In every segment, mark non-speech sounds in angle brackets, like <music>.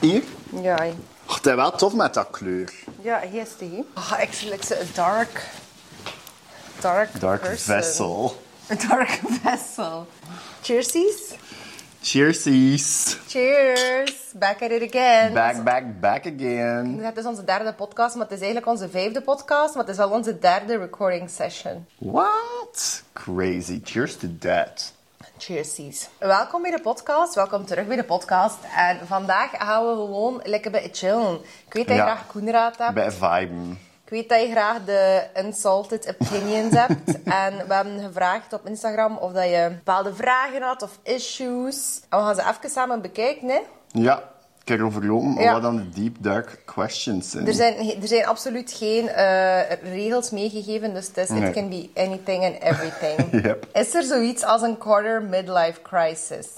Hier? Ja, hè. Oh, het is wel tof met dat kleur. ja, hier is die. Ah, actually, it's a dark, dark, Dark person. <laughs> vessel. A dark vessel. Cheersies. Cheersies. Cheers. Back at it again. Back, back, back again. Het is onze derde podcast, maar het is eigenlijk onze vijfde podcast, maar het is al onze derde recording session. What? Crazy. Cheers to that. Cheersies. Welkom bij de podcast, welkom terug bij de podcast. En vandaag gaan we gewoon lekker bij chillen. Ik weet dat je Ja. graag Koenraad hebt. Bij viben. Ik weet dat je graag de insulted opinions <laughs> hebt. En we hebben gevraagd op Instagram of dat je bepaalde vragen had of issues. En we gaan ze even samen bekijken, hè. Ja, ik heb overlopen. maar Ja. Wat dan de deep dark questions zijn. Er zijn, er zijn absoluut geen eh, regels meegegeven, dus het is Nee. it can be anything and everything. <laughs> Yep. Is er zoiets als een quarter midlife crisis?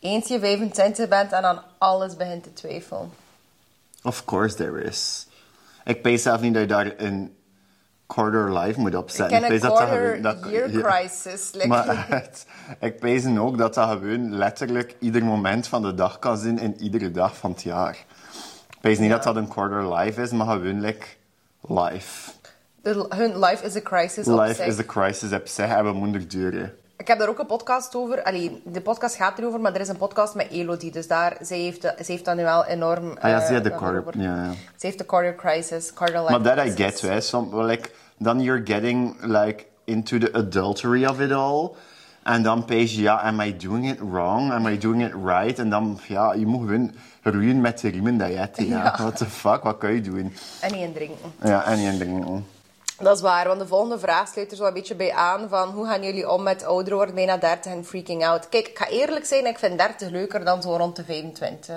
Eens je 25 bent en aan alles begint te twijfelen. Of course there is. Ik weet zelf niet dat je daar een quarter life moet Ik opzetten. ken een weet dat dat quarter gewoon- dat- <laughs> year ja. crisis. like- Maar echt, ik pezen ook dat dat gewoon letterlijk ieder moment van de dag kan zijn in iedere dag van het jaar. Ik pees niet dat dat een quarter life is, maar gewoon like, life. de- hun life is a crisis op Life zich. is a crisis op zich en we moeten er duren. Ik heb daar ook een podcast over. Allee, de podcast gaat erover, maar er is een podcast met Elodie. Dus daar, zij heeft, ze heeft dat nu wel enorm... Ah ja, eh, ze had de daarover. quarter- ja, ja. Ze heeft de quarter crisis, quarter life Maar dat I crisis. get, hè. Som- well, like, dan you're getting like, into the adultery of it all. En dan pees je, ja, am I doing it wrong? Am I doing it right? En dan, ja, je moet gewoon roeien met de riemen dat je hebt. hè, Ja. Ja. What the fuck, wat kan je doen? En niet indrinken. Ja, en je denkt... oh. Dat is waar, want de volgende vraag sluit er zo een beetje bij aan van hoe gaan jullie om met ouder worden, bijna 30 en freaking out. Kijk, ik ga eerlijk zijn, ik vind 30 leuker dan zo rond de 25.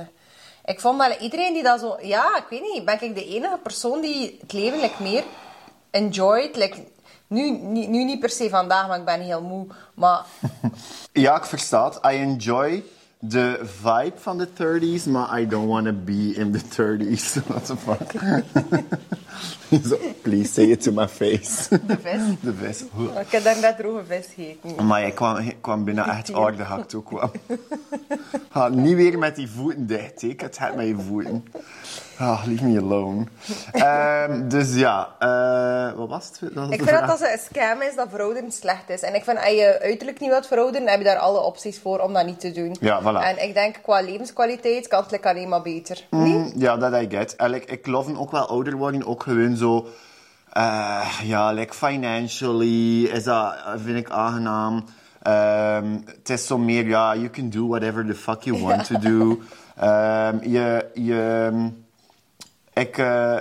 Ik vond wel iedereen die dat zo... Ja, ik weet niet, ben ik de enige persoon die het leven like, meer enjoyt? Like, nu, nu, nu niet per se vandaag, maar ik ben heel moe. Maar Ja, ik versta het. I enjoy the vibe van de 30s, maar I don't want to be in the 30s. <laughs> What the fuck? Zo, please say it to my face. <laughs> de vis... De vis. Ik heb daarnet droge vis gegeten. Maar ik kwam, ik kwam binnen echt orde gehakt ook wel. Ha, niet weer met die voeten dicht, hè. ik had het met je voeten. Ah, leave me alone. Ehm, dus ja, eh, wat was het? Dat was de Ik vind vraag. dat dat een scam is dat verouderen slecht is. En ik vind, als je uiterlijk niet wilt verouderen, heb je daar alle opties voor om dat niet te doen. Ja, voilà. En ik denk, qua levenskwaliteit kan het like alleen maar beter. <laughs> Nee? Mm, Ja, dat I get. En, like, ik love ook wel ouder worden, ook gewoon zo... eh, ja, like financially is dat, eh, vind ik aangenaam. Ehm, het is zo meer, ja, you can do whatever the fuck you want to do. Ehm, je, je, ik, eh,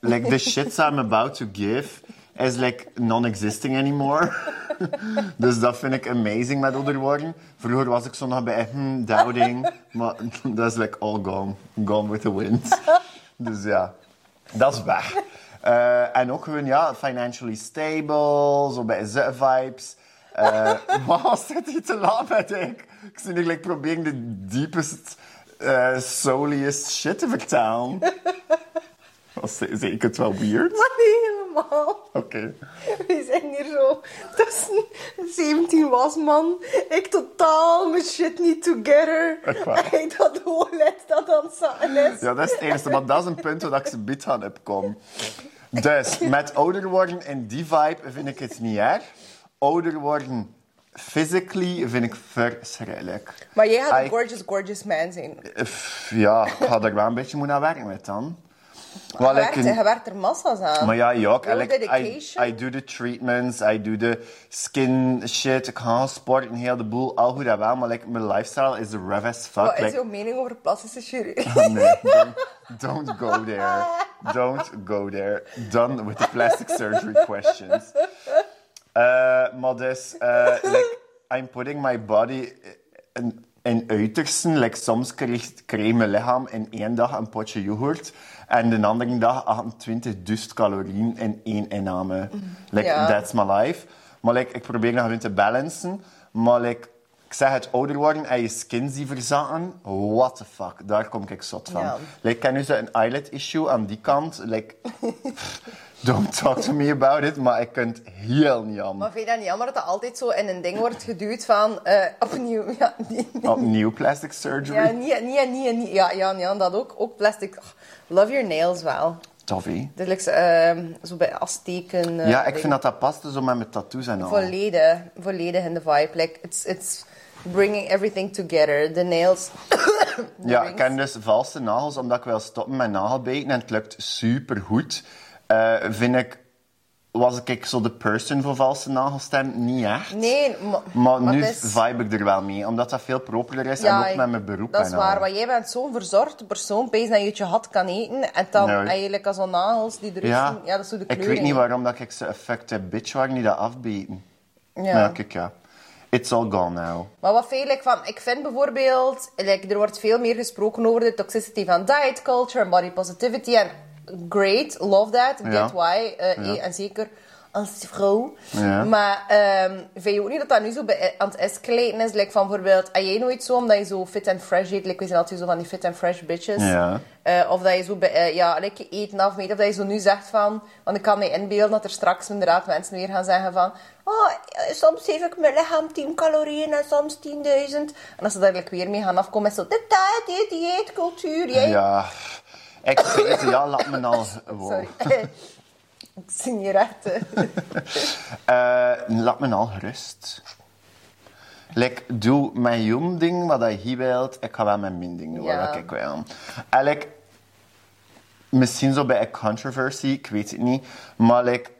like the shits I'm about to give is like non-existing anymore. <laughs> dus dat vind ik amazing met ouder worden. Vroeger was ik zo nog bij hmm, doubting, maar <laughs> dat is like all gone, gone with the wind. dus ja, dat is weg. Eh, en ook gewoon, ja, financially stable, zo bij Z-vibes. Eh <laughs> maar zit hier te laat met ik? Ik zie nu like, proberen de deepest, eh souliest shit te vertalen. Was ze- ze- ik het wel weird? Maar niet helemaal. Oké. We zijn hier zo tussen 17 was, man. Ik totaal mijn shit niet together. Echt <laughs> waar? En dat OLED dat aan het zaten is. Ja, dat is het enige. Maar dat is een punt waar ik ze bit aan heb komen. Dus, met ouder worden en die vibe vind ik het niet erg. Ouder worden physically vind ik verschrikkelijk. Maar jij gaat een I- gorgeous, gorgeous man zijn. Uff, Ja, ik ga er wel een beetje moeten aan werken met dan. Wel, Je werkt, ik- je werkt er massa's aan. Maar ja, ja, ik, Your like, I, dedication. I do the treatments, I do the skin shit, ik ga sporten, heel de boel, al goed en wel, maar like, mijn lifestyle is rough as fuck. Wat is like- jouw mening over plastische <laughs> chirurgie? Nee, don't, don't go there. Don't go there. Done with the plastic surgery questions. Eh, maar dus, <laughs> eh, like, I'm putting my body in, in uitersten. Like, soms krijgt krijgt mijn lichaam in één dag een potje yoghurt. En de andere dag 28.000 calorieën in één inname. Like, Ja. that's my life. Maar like, ik probeer nog even te balancen. Maar like, ik zeg het, ouder worden en je skin zien verzatten. What the fuck, daar kom ik zot van. Ja. Like, ik heb nu zo een eyelid issue aan die kant. Like, Don't talk to me about it, maar ik kunt heel niet aan. Maar vind je dat niet jammer dat dat altijd zo in een ding wordt geduwd van eh, opnieuw? <laughs> Ja, nee, nee. Opnieuw plastic surgery. ja, niet, niet, niet, niet. Ja, ja, ja, dat ook. Ook plastic. Ugh, love your nails wel. Toffie. Dit lijkt zo, ehm, zo bij Azteken. eh, Ja, ik dingen. vind dat dat past dus ook met mijn tattoos en al. Volledig, volledig in de vibe. Like, it's, it's bringing everything together. The nails. <coughs> the Ja, ik rings. ken dus valse nagels, omdat ik wil stoppen met nagelbijten en het lukt supergoed. Eh vind ik, was ik zo de person voor valse nagelstem? Niet echt. Nee, maar, Maar maar nu het is- vibe ik er wel mee, omdat dat veel propeler is en ook ik- met mijn beroep Dat is en waar, al. want jij bent zo'n verzorgd persoon, pees dat je het je had kan eten. En dan Nee. eigenlijk als al nagels die eruit Ja, zien, ja, dat is zo de ik kleuring. weet niet waarom dat ik ze effecten bitch waren die dat afbeten. Ja. Maar kijk ja. It's all gone now. Maar wat veel ik van, ik vind bijvoorbeeld, like, er wordt veel meer gesproken over de toxicity van diet culture en body positivity. En great, love that, get Ja. why. eh, Ja. En zeker als vrouw. Ja. Maar ehm, vind je ook niet dat dat nu zo bij- aan het escalaten is? Like van bijvoorbeeld, had jij nooit zo, omdat je zo fit and fresh eet? Like, we zijn altijd zo van die fit and fresh bitches. Ja. Eh, of dat je zo bij, eh, ja, like je eten afmeet. Of dat je zo nu zegt van... Want ik kan me inbeelden dat er straks inderdaad mensen weer gaan zeggen van... Oh, eh, soms geef ik mijn lichaam 10 calorieën en soms 10.000. En als ze daar like, weer mee gaan afkomen met zo... De diet, die dieetcultuur, jij... Ja. Ik weet het, ja, laat me al. Wow. Sorry. <laughs> ik zie je echt... eh. Eh, laat me al gerust. Like, doe mijn jong ding wat je hier wilt. Ik ga wel mijn min ding doen Ja. wat ik wil. En like, misschien zo bij een controversy, ik weet het niet. Maar like,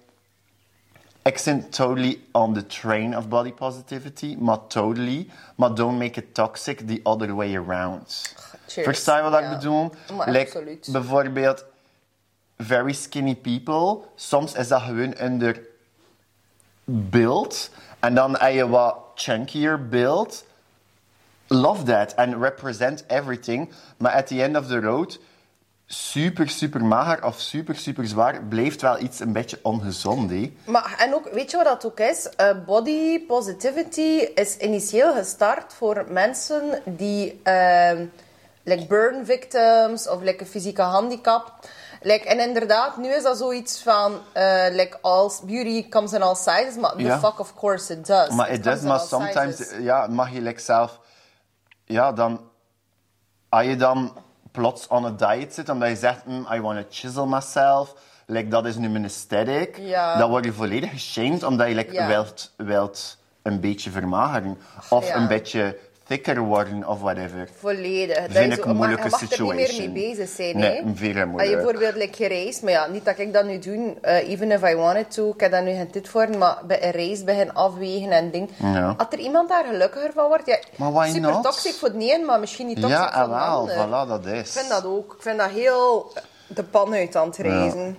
ik zit totally on the train of body positivity. Maar totally. Maar don't make it toxic the other way around. Cheers. Verstaan je wat Ja. ik bedoel? Maar Like, absoluut. Bijvoorbeeld, very skinny people. Soms is dat gewoon onder beeld. En dan heb je wat chunkier beeld. Love that. And represent everything. Maar at the end of the road, super, super mager of super, super zwaar, blijft wel iets een beetje ongezond, hè? Maar, en ook, weet je wat dat ook is? Eh, body positivity is initieel gestart voor mensen die, ehm, like burn victims of like een fysieke handicap. Like, en inderdaad, nu is dat zoiets van, eh, like all beauty comes in all sizes, maar the Ja. fuck of course it does. Maar it does, comes in maar all sometimes sizes. ja, mag je like zelf... Ja, dan... Als je dan plots on a diet zit, omdat je zegt... "Mm, I want to chisel myself. Like, dat is nu mijn aesthetic. Ja. Dan word je volledig geshamed, omdat je like, Ja. wilt, wilt een beetje vermageren. Of Ja. een beetje thicker worden, of whatever. Volledig. Dat Vind is ik ook- een moeilijke maar je mag er niet meer situation. mee bezig zijn. Nee, hè? veel moeilijk. Als je bijvoorbeeld like, gereisd, maar ja, niet dat ik dat nu doe, eh, even if I wanted to, ik heb daar nu geen tijd voor, maar bij een reis begin afwegen en ding. Ja. Als er iemand daar gelukkiger van wordt, ja, Maar why super not? toxic voor de een, maar misschien niet toxic Ja, voor ah, de wel. ander. Voilà, dat is. Ik vind dat ook. Ik vind dat heel eh, de pan uit aan het reizen.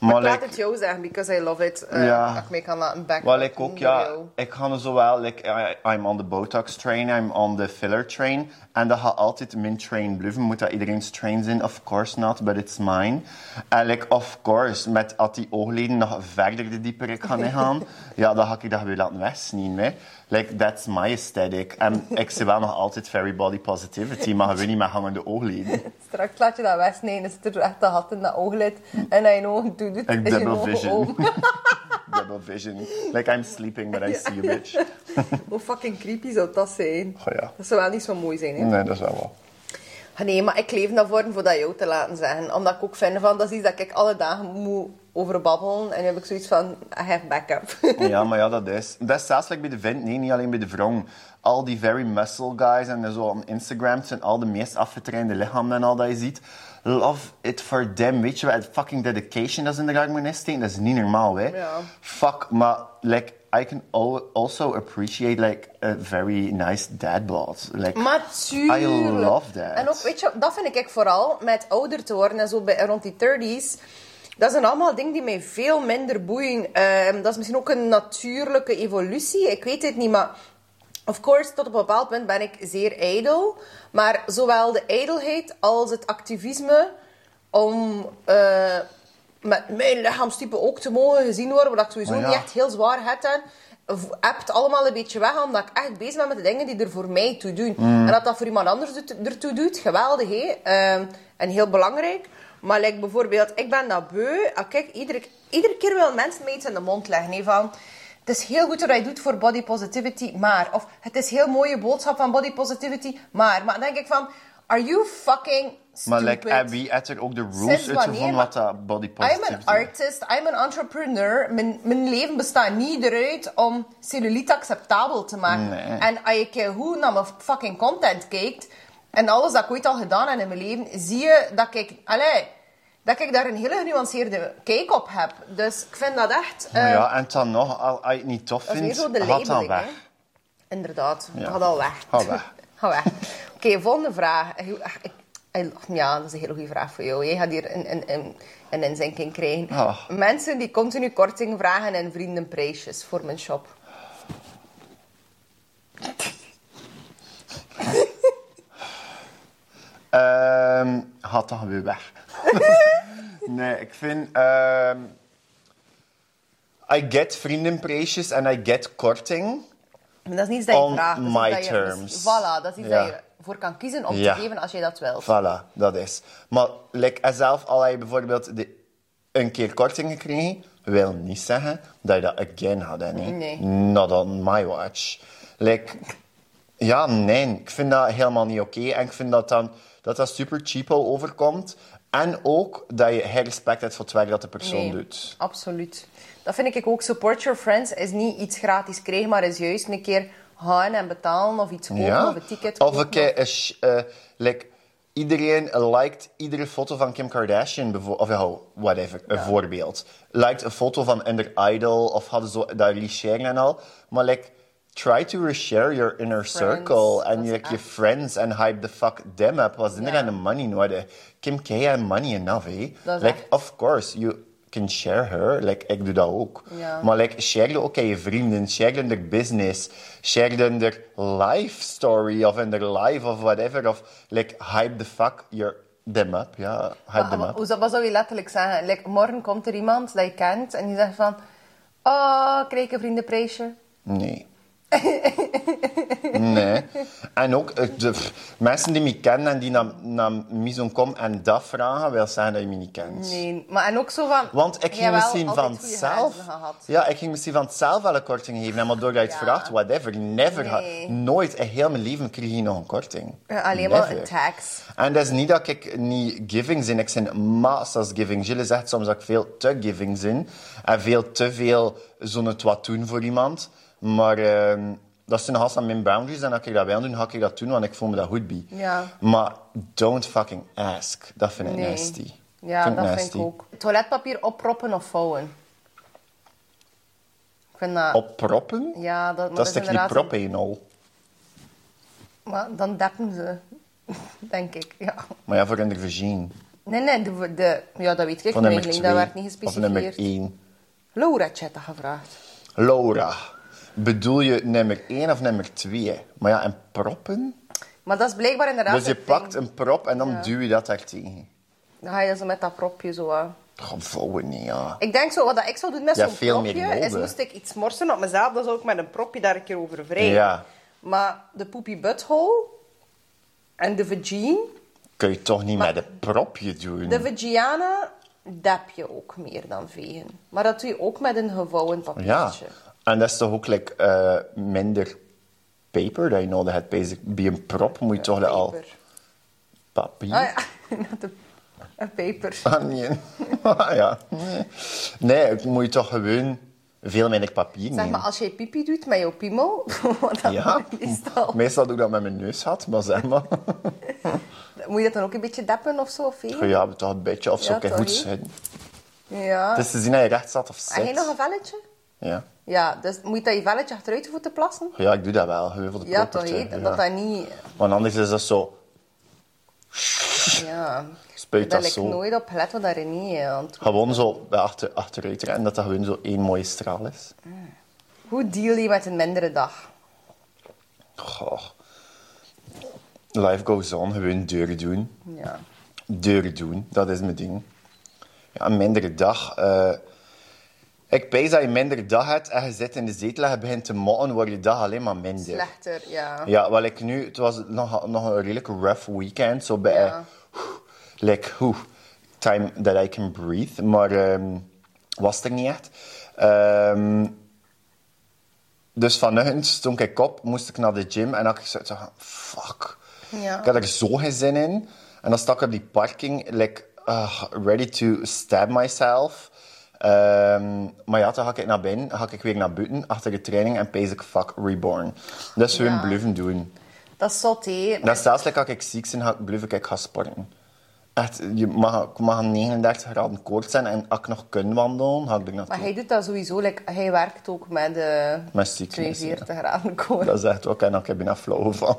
Maar Ik laat like- het jou zeggen, because I love it. eh, Ja. Dat ik mee kan laten back. Wel, ik ook, ja. Ik ga er zo wel, like, I- I'm on the botox train, I'm on the filler train. En dat gaat altijd mijn train blijven. Moet dat iedereen's train zijn? Of course not, but it's mine. En like, of course, met als die oogleden nog verder de dieper ik gaan gaan, ja, dan ga ik dat weer laten wegsnien, hè. Like, that's my aesthetic. En ik zie wel nog altijd very body positivity, maar gewoon niet met hangende oogleden. Straks laat je dat wegsnijden, zit er echt een gat in dat ooglid. En hij ogen doet het. Ik is je double ogen vision. open. double vision. Like, I'm sleeping, but I see you, bitch. Hoe fucking creepy zou dat zijn? Goh, ja. Mm. Dat zou wel niet zo mooi zijn, hè? Nee, dat is wel wel. Ah, Nee, maar ik leef daarvoor om voor dat jou te laten zeggen. Omdat ik ook vind van, dat is iets dat ik alle dagen moet over babbelen. En nu heb ik zoiets van, I have backup. Ja, maar ja, dat is. Dat is zelfs like bij de vent, nee, niet alleen bij de vrouw. Al die very muscle guys en zo op Instagram het zijn al de meest afgetrainde lichamen en al dat je ziet. Love it for them. Weet je wat? Fucking dedication dat ze in de gang moeten insteken, dat is niet normaal, hè? Ja. Fuck, maar like, I can al- also appreciate like a very nice dad bod. Like, maar tuurlijk. I love that. En ook, weet je, dat vind ik vooral met ouder te worden en zo bij, rond die 30s. Dat zijn allemaal dingen die mij veel minder boeien. Ehm, dat is misschien ook een natuurlijke evolutie. Ik weet het niet, maar... Of course, tot op een bepaald punt ben ik zeer ijdel. Maar zowel de ijdelheid als het activisme om... eh, met mijn lichaamstype ook te mogen gezien worden, wat ik sowieso Maar ja. niet echt heel zwaar heb dan, v- hebt allemaal een beetje weg, omdat ik echt bezig ben met de dingen die er voor mij Mm. toe doen. En dat dat voor iemand anders doet- ertoe doet, geweldig, hè? Ehm, en heel belangrijk. Maar like, bijvoorbeeld, ik ben dat beu. Ah, kijk, iedere, iedere keer wil mensen mij iets in de mond leggen. hè, van, het is heel goed wat je doet voor body positivity, maar... Of het is heel mooie boodschap van body positivity, maar... Maar dan denk ik van, are you fucking stupid? Maar like Abby had er ook de rules Sinds uit van wanneer? wat dat body I'm positivity an artist, I'm an entrepreneur. Mijn, mijn leven bestaat niet eruit om cellulite acceptabel te maken. Nee. En als je keer hoe naar mijn fucking content kijkt en alles dat ik ooit al gedaan heb in mijn leven, zie je dat ik, allee, dat ik daar een hele genuanceerde kijk op heb. Dus ik vind dat echt. Maar eh, Oh ja, en dan nog, al- als je het niet tof is vindt, weer zo de gaat dan labeling, weg. Inderdaad, Ja. gaat al weg. Ga <laughs> weg. Ga weg. Oké, volgende vraag. Hoe- ah, ik- ik- Ja, dat is een hele goede vraag voor jou. Jij gaat hier een, een, een, een inzinking krijgen. Ah. Mensen die continu korting vragen en vriendenprijsjes voor mijn shop. Ehm, gaat dan weer weg. <laughs> nee, ik vind... ehm, I get vriendenprijsjes en I get korting. Maar dat is niets dat je On vraagt. dat is my iets dat je- terms. Voilà, dat is iets Ja. dat je voor kan kiezen om Ja. te geven als jij dat wilt. Voilà, dat is. Maar like, en zelf al heb je bijvoorbeeld de, een keer korting gekregen, wil niet zeggen dat je dat again had. Hè, nee. Nee. Not on my watch. Like, ja, nee. Ik vind dat helemaal niet oké. En ik vind dat dan dat, dat super cheapo overkomt. En ook dat je geen respect hebt voor het werk dat de persoon doet. Absoluut. Dat vind ik ook. Support your friends is niet iets gratis krijgen, maar is juist een keer gaan en betalen of iets kopen Ja? of een ticket Of kopen. een keer... een sh- eh, like, iedereen liked iedere foto van Kim Kardashian, bevo- of ja, whatever, een voorbeeld. Liked een foto van Under Idol, of hadden zo dat resharen en al. Maar like, try to reshare your inner Friends, circle dat and is like, your echt- friends and hype the fuck them up. Was in Ja. yeah. money no hadden. Kim K had money enough, eh? Dat is Like, echt- of course, you can share her. Like, ik doe dat ook. Ja. Maar like, share ook aan je vrienden, share in their business, share in their life story of in their life of whatever. Of like, hype the fuck your, them up. Ja, hype them Maar oh, up. Hoe zou, wat zou je letterlijk zeggen? Like, morgen komt er iemand dat je kent en die zegt van... Oh, krijg ik een vriendenprijsje? Nee. nee. En ook eh, de, pff, mensen die me kennen en die naar, naar Mizon komen en dat vragen, wil zeggen dat je me niet kent. Nee. Maar, en ook zo van... Want ik ging jawel, misschien altijd van goede zelf. grenzen gehad. Ja, ik ging misschien van zelf wel een korting geven. En maar doordat je het Ja. vraagt, whatever. Never. Nee. had- Nooit in heel mijn leven kreeg ik nog een korting. Ja, alleen maar Never. een tax. En dat is niet dat ik niet giving ben. Ik ben masters giving. Gilles zegt soms dat ik veel te giving ben. En veel te veel zo'n het wat doen voor iemand. Maar ehm, dat zijn haast aan mijn boundaries. En als ik dat wil doen, ga ik dat doen. Want ik voel me dat goed bij. Ja. Maar don't fucking ask. Dat vind ik nasty. Ja, Vind ik dat vind nasty. ik ook. Toiletpapier opproppen of vouwen? Ik vind dat... Opproppen? Ja, dat, maar Dat is stuk niet inderdaad een- prop in al. Maar dan deppen ze, <laughs> denk ik. Ja. Maar ja, voor in de vagine. Nee, nee, de, de, ja, dat weet ik Van nummer niet 2. eigenlijk. Dat werd niet Of nummer gespecificeerd. 1. Laura had dat gevraagd. Laura, bedoel je nummer 1 of nummer 2? Maar ja, en proppen? Maar dat is blijkbaar inderdaad Dus je het ding. pakt een prop en dan duw je dat daar tegen. Dan ga je zo met dat propje zo aan. Gewoon vouwen, nee, ja. Ik denk zo, wat dat ik zou doen met Ja, zo'n veel meer propje, is nodig. moest ik iets morsen op mezelf, dan zou ik met een propje daar een keer over wrijven. Ja. Maar de poepie butthole en de vagina, Kun je toch niet met een propje doen? de vagina dap je ook meer dan vegen. Maar dat doe je ook met een gevouwen Ja. papiertje. En dat is toch ook like, eh, minder paper dat je nodig hebt. basic. Bij een prop moet je toch dat al Paper. papier... Ah ja, <laughs> met een, een paper. Onion. <laughs> Ah, ja. Nee. nee, ik moet toch gewoon veel minder papier Zeg maar, nemen. als jij pipi doet met jouw piemel, <laughs> want dat ja, doe ik <laughs> meestal, meestal doe ik dat met mijn neus had, maar zeg <laughs> maar. moet je dat dan ook een beetje deppen of zo? Of vegen? ja, maar toch een beetje of zo. Ja, kan toch, Ah, goed hè? zijn. ja. Het is te zien dat je recht zat of Heb jij nog een zit. velletje? Ja. Ja, dus moet je dat je velletje achteruit voeten plassen? ja, ik doe dat wel. Gewoon voor de Ja, toch? property, hè? Dat ja. dat niet... Want anders is dat zo. Ja. Spuit Daar dat heb ik zo. nooit op gelet wat daarin niet eh, want Gewoon zo bij achter, achteruit rijden en dat dat gewoon zo één mooie straal is. Hoe deal je met een mindere dag? Goh. Life goes on. Gewoon deuren doen. Ja. deuren doen. Dat is mijn ding. Ja, een mindere dag. eh, ik pees dat je een mindere dag hebt en je zit in de zetel en je begint te motten, wordt je dag alleen maar minder. Slechter, ja. Ja, wat ik nu... Het was nog, nog een redelijk rough weekend. Zo bij... Ja. eh, like, hoe... time that I can breathe. Maar ehm, was er niet echt. Ehm, dus vanochtend stond ik op, moest ik naar de gym en had ik zoiets van, fuck. Ja. Ik had er zo geen zin in. En dan stak ik op die parking, like, ah, ready to stab myself. Ehm, maar ja, toen ga ik naar binnen, ga ik weer naar buiten, achter de training en pees ik fuck reborn. Dus we Ja. blijven doen. Dat is zot, hé. Dat is zelfs like, als ik ziek ben, ga ik, blijf ik like, gaan sporten. Echt, je mag, ik mag 39 graden koorts zijn en als ik nog kan wandelen, ga ik er Maar naartoe. hij doet dat sowieso. like, hij werkt ook met eh, de Met ziektes, ja. 42 graden koorts. Dat is echt ook, en ik heb bijna flauw van.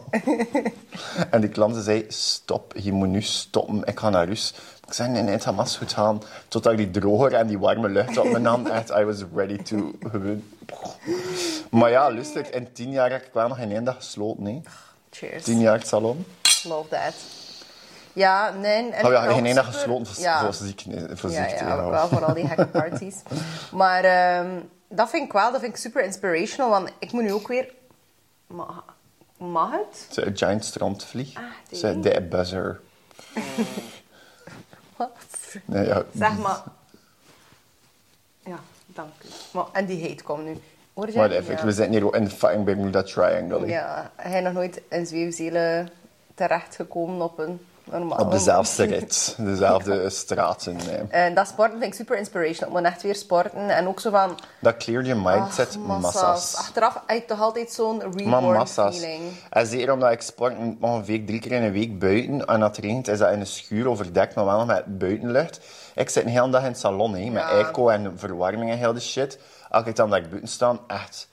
<laughs> en die klanten zei, stop, je moet nu stoppen, ik ga naar rust. Ik zei, nee, nee, het gaat maar goed gaan. Totdat die droger en die warme lucht op me nam, echt, I was ready to... gewoon. maar ja, lustig, in tien jaar heb ik wel nog in één dag gesloten, nee. Cheers. Tien jaar het salon. Love that. Ja, nee. En Oh ja, ik ben in ook één dag super- gesloten voor, Ja. voor ziekte. Voor Ja, ziekte ja, ja. ook wel voor al die gekke <laughs> parties. maar ehm, dat vind ik wel, dat vind ik super inspirational, want ik moet nu ook weer... Ma- Mag het? Ze een giant strandvlieg. Ah, die. Ze de buzzer. Nee, ja. Zeg maar... Ja, dank u. Maar, en die heet komt nu. Hoor je? Whatever, Ja. we zitten hier ook in de fucking Bermuda Triangle. Ja, hij is nog nooit in Zweefzelen terechtgekomen op een normaal... Op dezelfde rit, dezelfde eh. straten. nee. En dat sporten vind ik super inspirational. Ik moet echt weer sporten. En ook zo van... Dat clear je mindset ach, massa's. Achteraf heb je toch altijd zo'n reborn Maar massa's. feeling. En zeker omdat ik sport ongeveer drie keer in een week buiten. En dat regent is dat in een schuur overdekt, maar wel nog met buitenlucht. Ik zit een hele dag in het salon, hè, met Ja. airco en verwarming en heel die shit. Als ik dan dat ik buiten sta, echt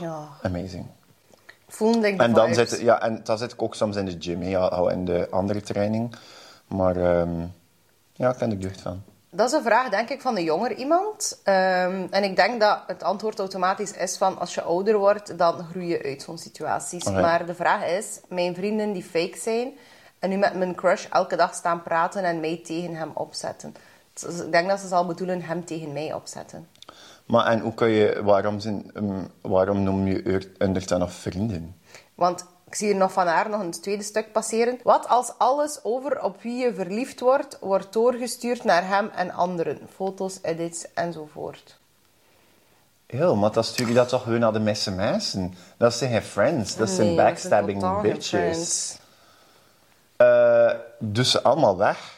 Ja. amazing. Voelde ik de En dan vibes. zit, ja, en dan zit ik ook soms in de gym, hè, ja, al in de andere training. Maar ehm, ja, ik ben er deugd van. Dat is een vraag, denk ik, van een jonger iemand. Ehm, en ik denk dat het antwoord automatisch is van... Als je ouder wordt, dan groei je uit zo'n situaties. Oké. Maar de vraag is... Mijn vrienden die fake zijn... En nu met mijn crush elke dag staan praten en mij tegen hem opzetten. Dus ik denk dat ze zal bedoelen hem tegen mij opzetten. Maar en hoe kun je, waarom, zijn, ehm, waarom noem je eer- onder dan nog vrienden? Want ik zie hier nog van haar nog een tweede stuk passeren. Wat als alles over op wie je verliefd wordt, wordt doorgestuurd naar hem en anderen? Foto's, edits enzovoort. Heel, maar dan stuur je dat toch gewoon naar de meeste mensen. Dat zijn geen friends, dat zijn Nee, dat zijn backstabbing totaal geen bitches. friends. Eh, dus ze allemaal weg.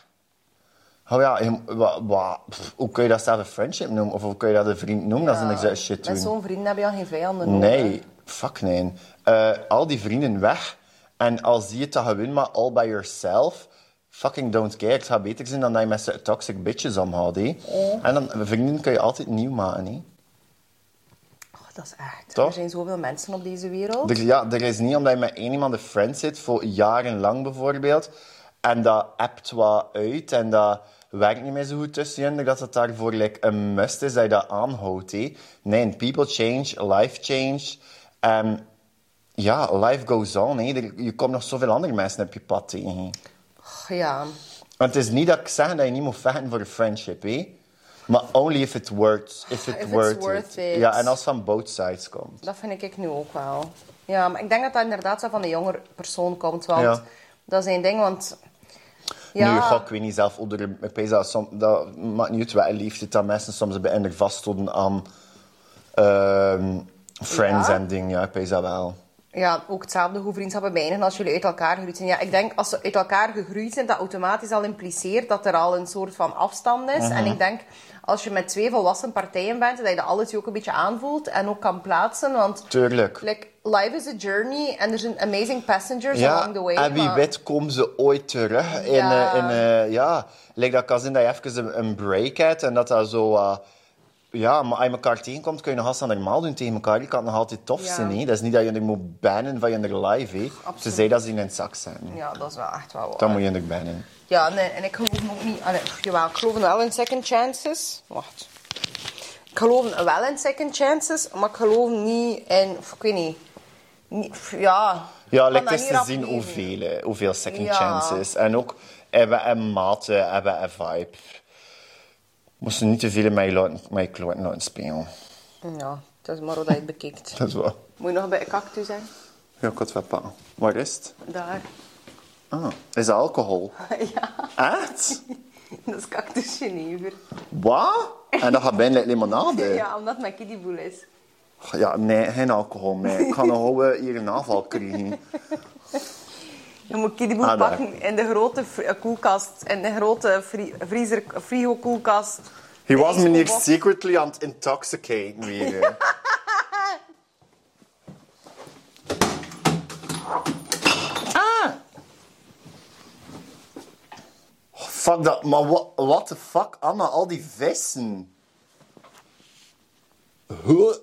Oh ja, je- wa- wa- pff, hoe kun je dat zelf een friendship noemen? Of hoe kun je dat een vriend noemen? Dat is een exact shit doen. Met zo'n vrienden heb je al geen vijanden nodig. Nee, fuck nee. Eh, al die vrienden weg. En al zie je het dan gewoon maar all by yourself. Fucking don't care. Het gaat beter zijn dan dat je met zo'n toxic bitches omhoudt. hè. En dan, vrienden kun je altijd nieuw maken. hè. Oh, dat is echt. Toch? Er zijn zoveel mensen op deze wereld. Er, ja, er is niet omdat je met één iemand een friend zit, voor jarenlang bijvoorbeeld, en dat appt wat uit en dat werkt niet meer zo goed tussen je, dat het daarvoor like, een must is dat je dat aanhoudt. hè. Nee, people change, life change. En ja, life goes on. hè. Er- Je komt nog zoveel andere mensen op je pad tegen. Och, ja. Want het is niet dat ik zeg dat je niet moet vechten voor een friendship, hè? maar only if it works. If it If it's worth worth it. it. Ja, en als het van both sides komt. Dat vind ik nu ook wel. Ja, maar ik denk dat dat inderdaad zo van de jongere persoon komt. Want Ja. dat is één ding, want... Ja, Nu, goh, ik weet niet zelf hoe er... Ik weet dat, som, dat maakt niet uit welke leeftijd dat mensen soms bij hen vaststonden aan ehm, friends Ja? en dingen. Ja, ik weet dat wel. ja, ook hetzelfde hoe vriendschappen beëindigen als jullie uit elkaar gegroeid zijn. Ja, ik denk als ze uit elkaar gegroeid zijn, dat automatisch al impliceert dat er al een soort van afstand is. En Mhm. ik denk als je met twee volwassen partijen bent, dat je dat alles ook een beetje aanvoelt en ook kan plaatsen. Want Tuurlijk. like, life is a journey en er zijn amazing passengers Ja, along the way. en wie maar- weet komen ze ooit terug in... Ja. eh, in eh, ja, lijkt dat kan zijn dat je even een, een break hebt en dat dat zo... eh, ja, maar als je elkaar tegenkomt, kun je nog altijd normaal doen tegen elkaar. Je kan nog altijd tof Ja. zijn, hè. Dat is niet dat je er moet bannen van je er live, hè. absoluut. Tenzij dat ze in een zak zijn. Ja, dat is wel echt wel waar. Dan moet je er bannen. Ja, nee, en ik geloof ook niet... Allee, pff, jawel, ik geloof wel in second chances. Wacht. Ik geloof wel in second chances, maar ik geloof niet in... pff, Ik weet niet. Niet- pff, ja. Ja, Ik kan lekker dat is niet te rap zien geven. hoeveel, eh, hoeveel second Ja. chances. En ook hebben en maten, hebben en vibe. Moesten niet te veel met je, laten- met je klanten laten spelen. Ja, dat is maar hoe dat je het bekijkt. Dat is wel. <laughs> Moet je nog bij een cactus zijn? Ja, ik had het wel pakken. Waar is het? Daar. <laughs> Ah, is dat alcohol? ja. Echt? <laughs> Dat is cactus genever. Wat? En dat gaat bijna limonade. Ja, omdat mijn kiddieboel is. Ja, nee, geen alcohol meer. Ik kan nog wel hier een <laughs> aanval krijgen. Je moet kiddieboel Ah, daar. pakken in de grote fri- eh, koelkast. In de grote fri- vriezer, frigo koelkast. He was me hier secretly aan het intoxicaten weer. ah! Oh, fuck dat, maar what, what the fuck, Anna, al die vissen. Huh?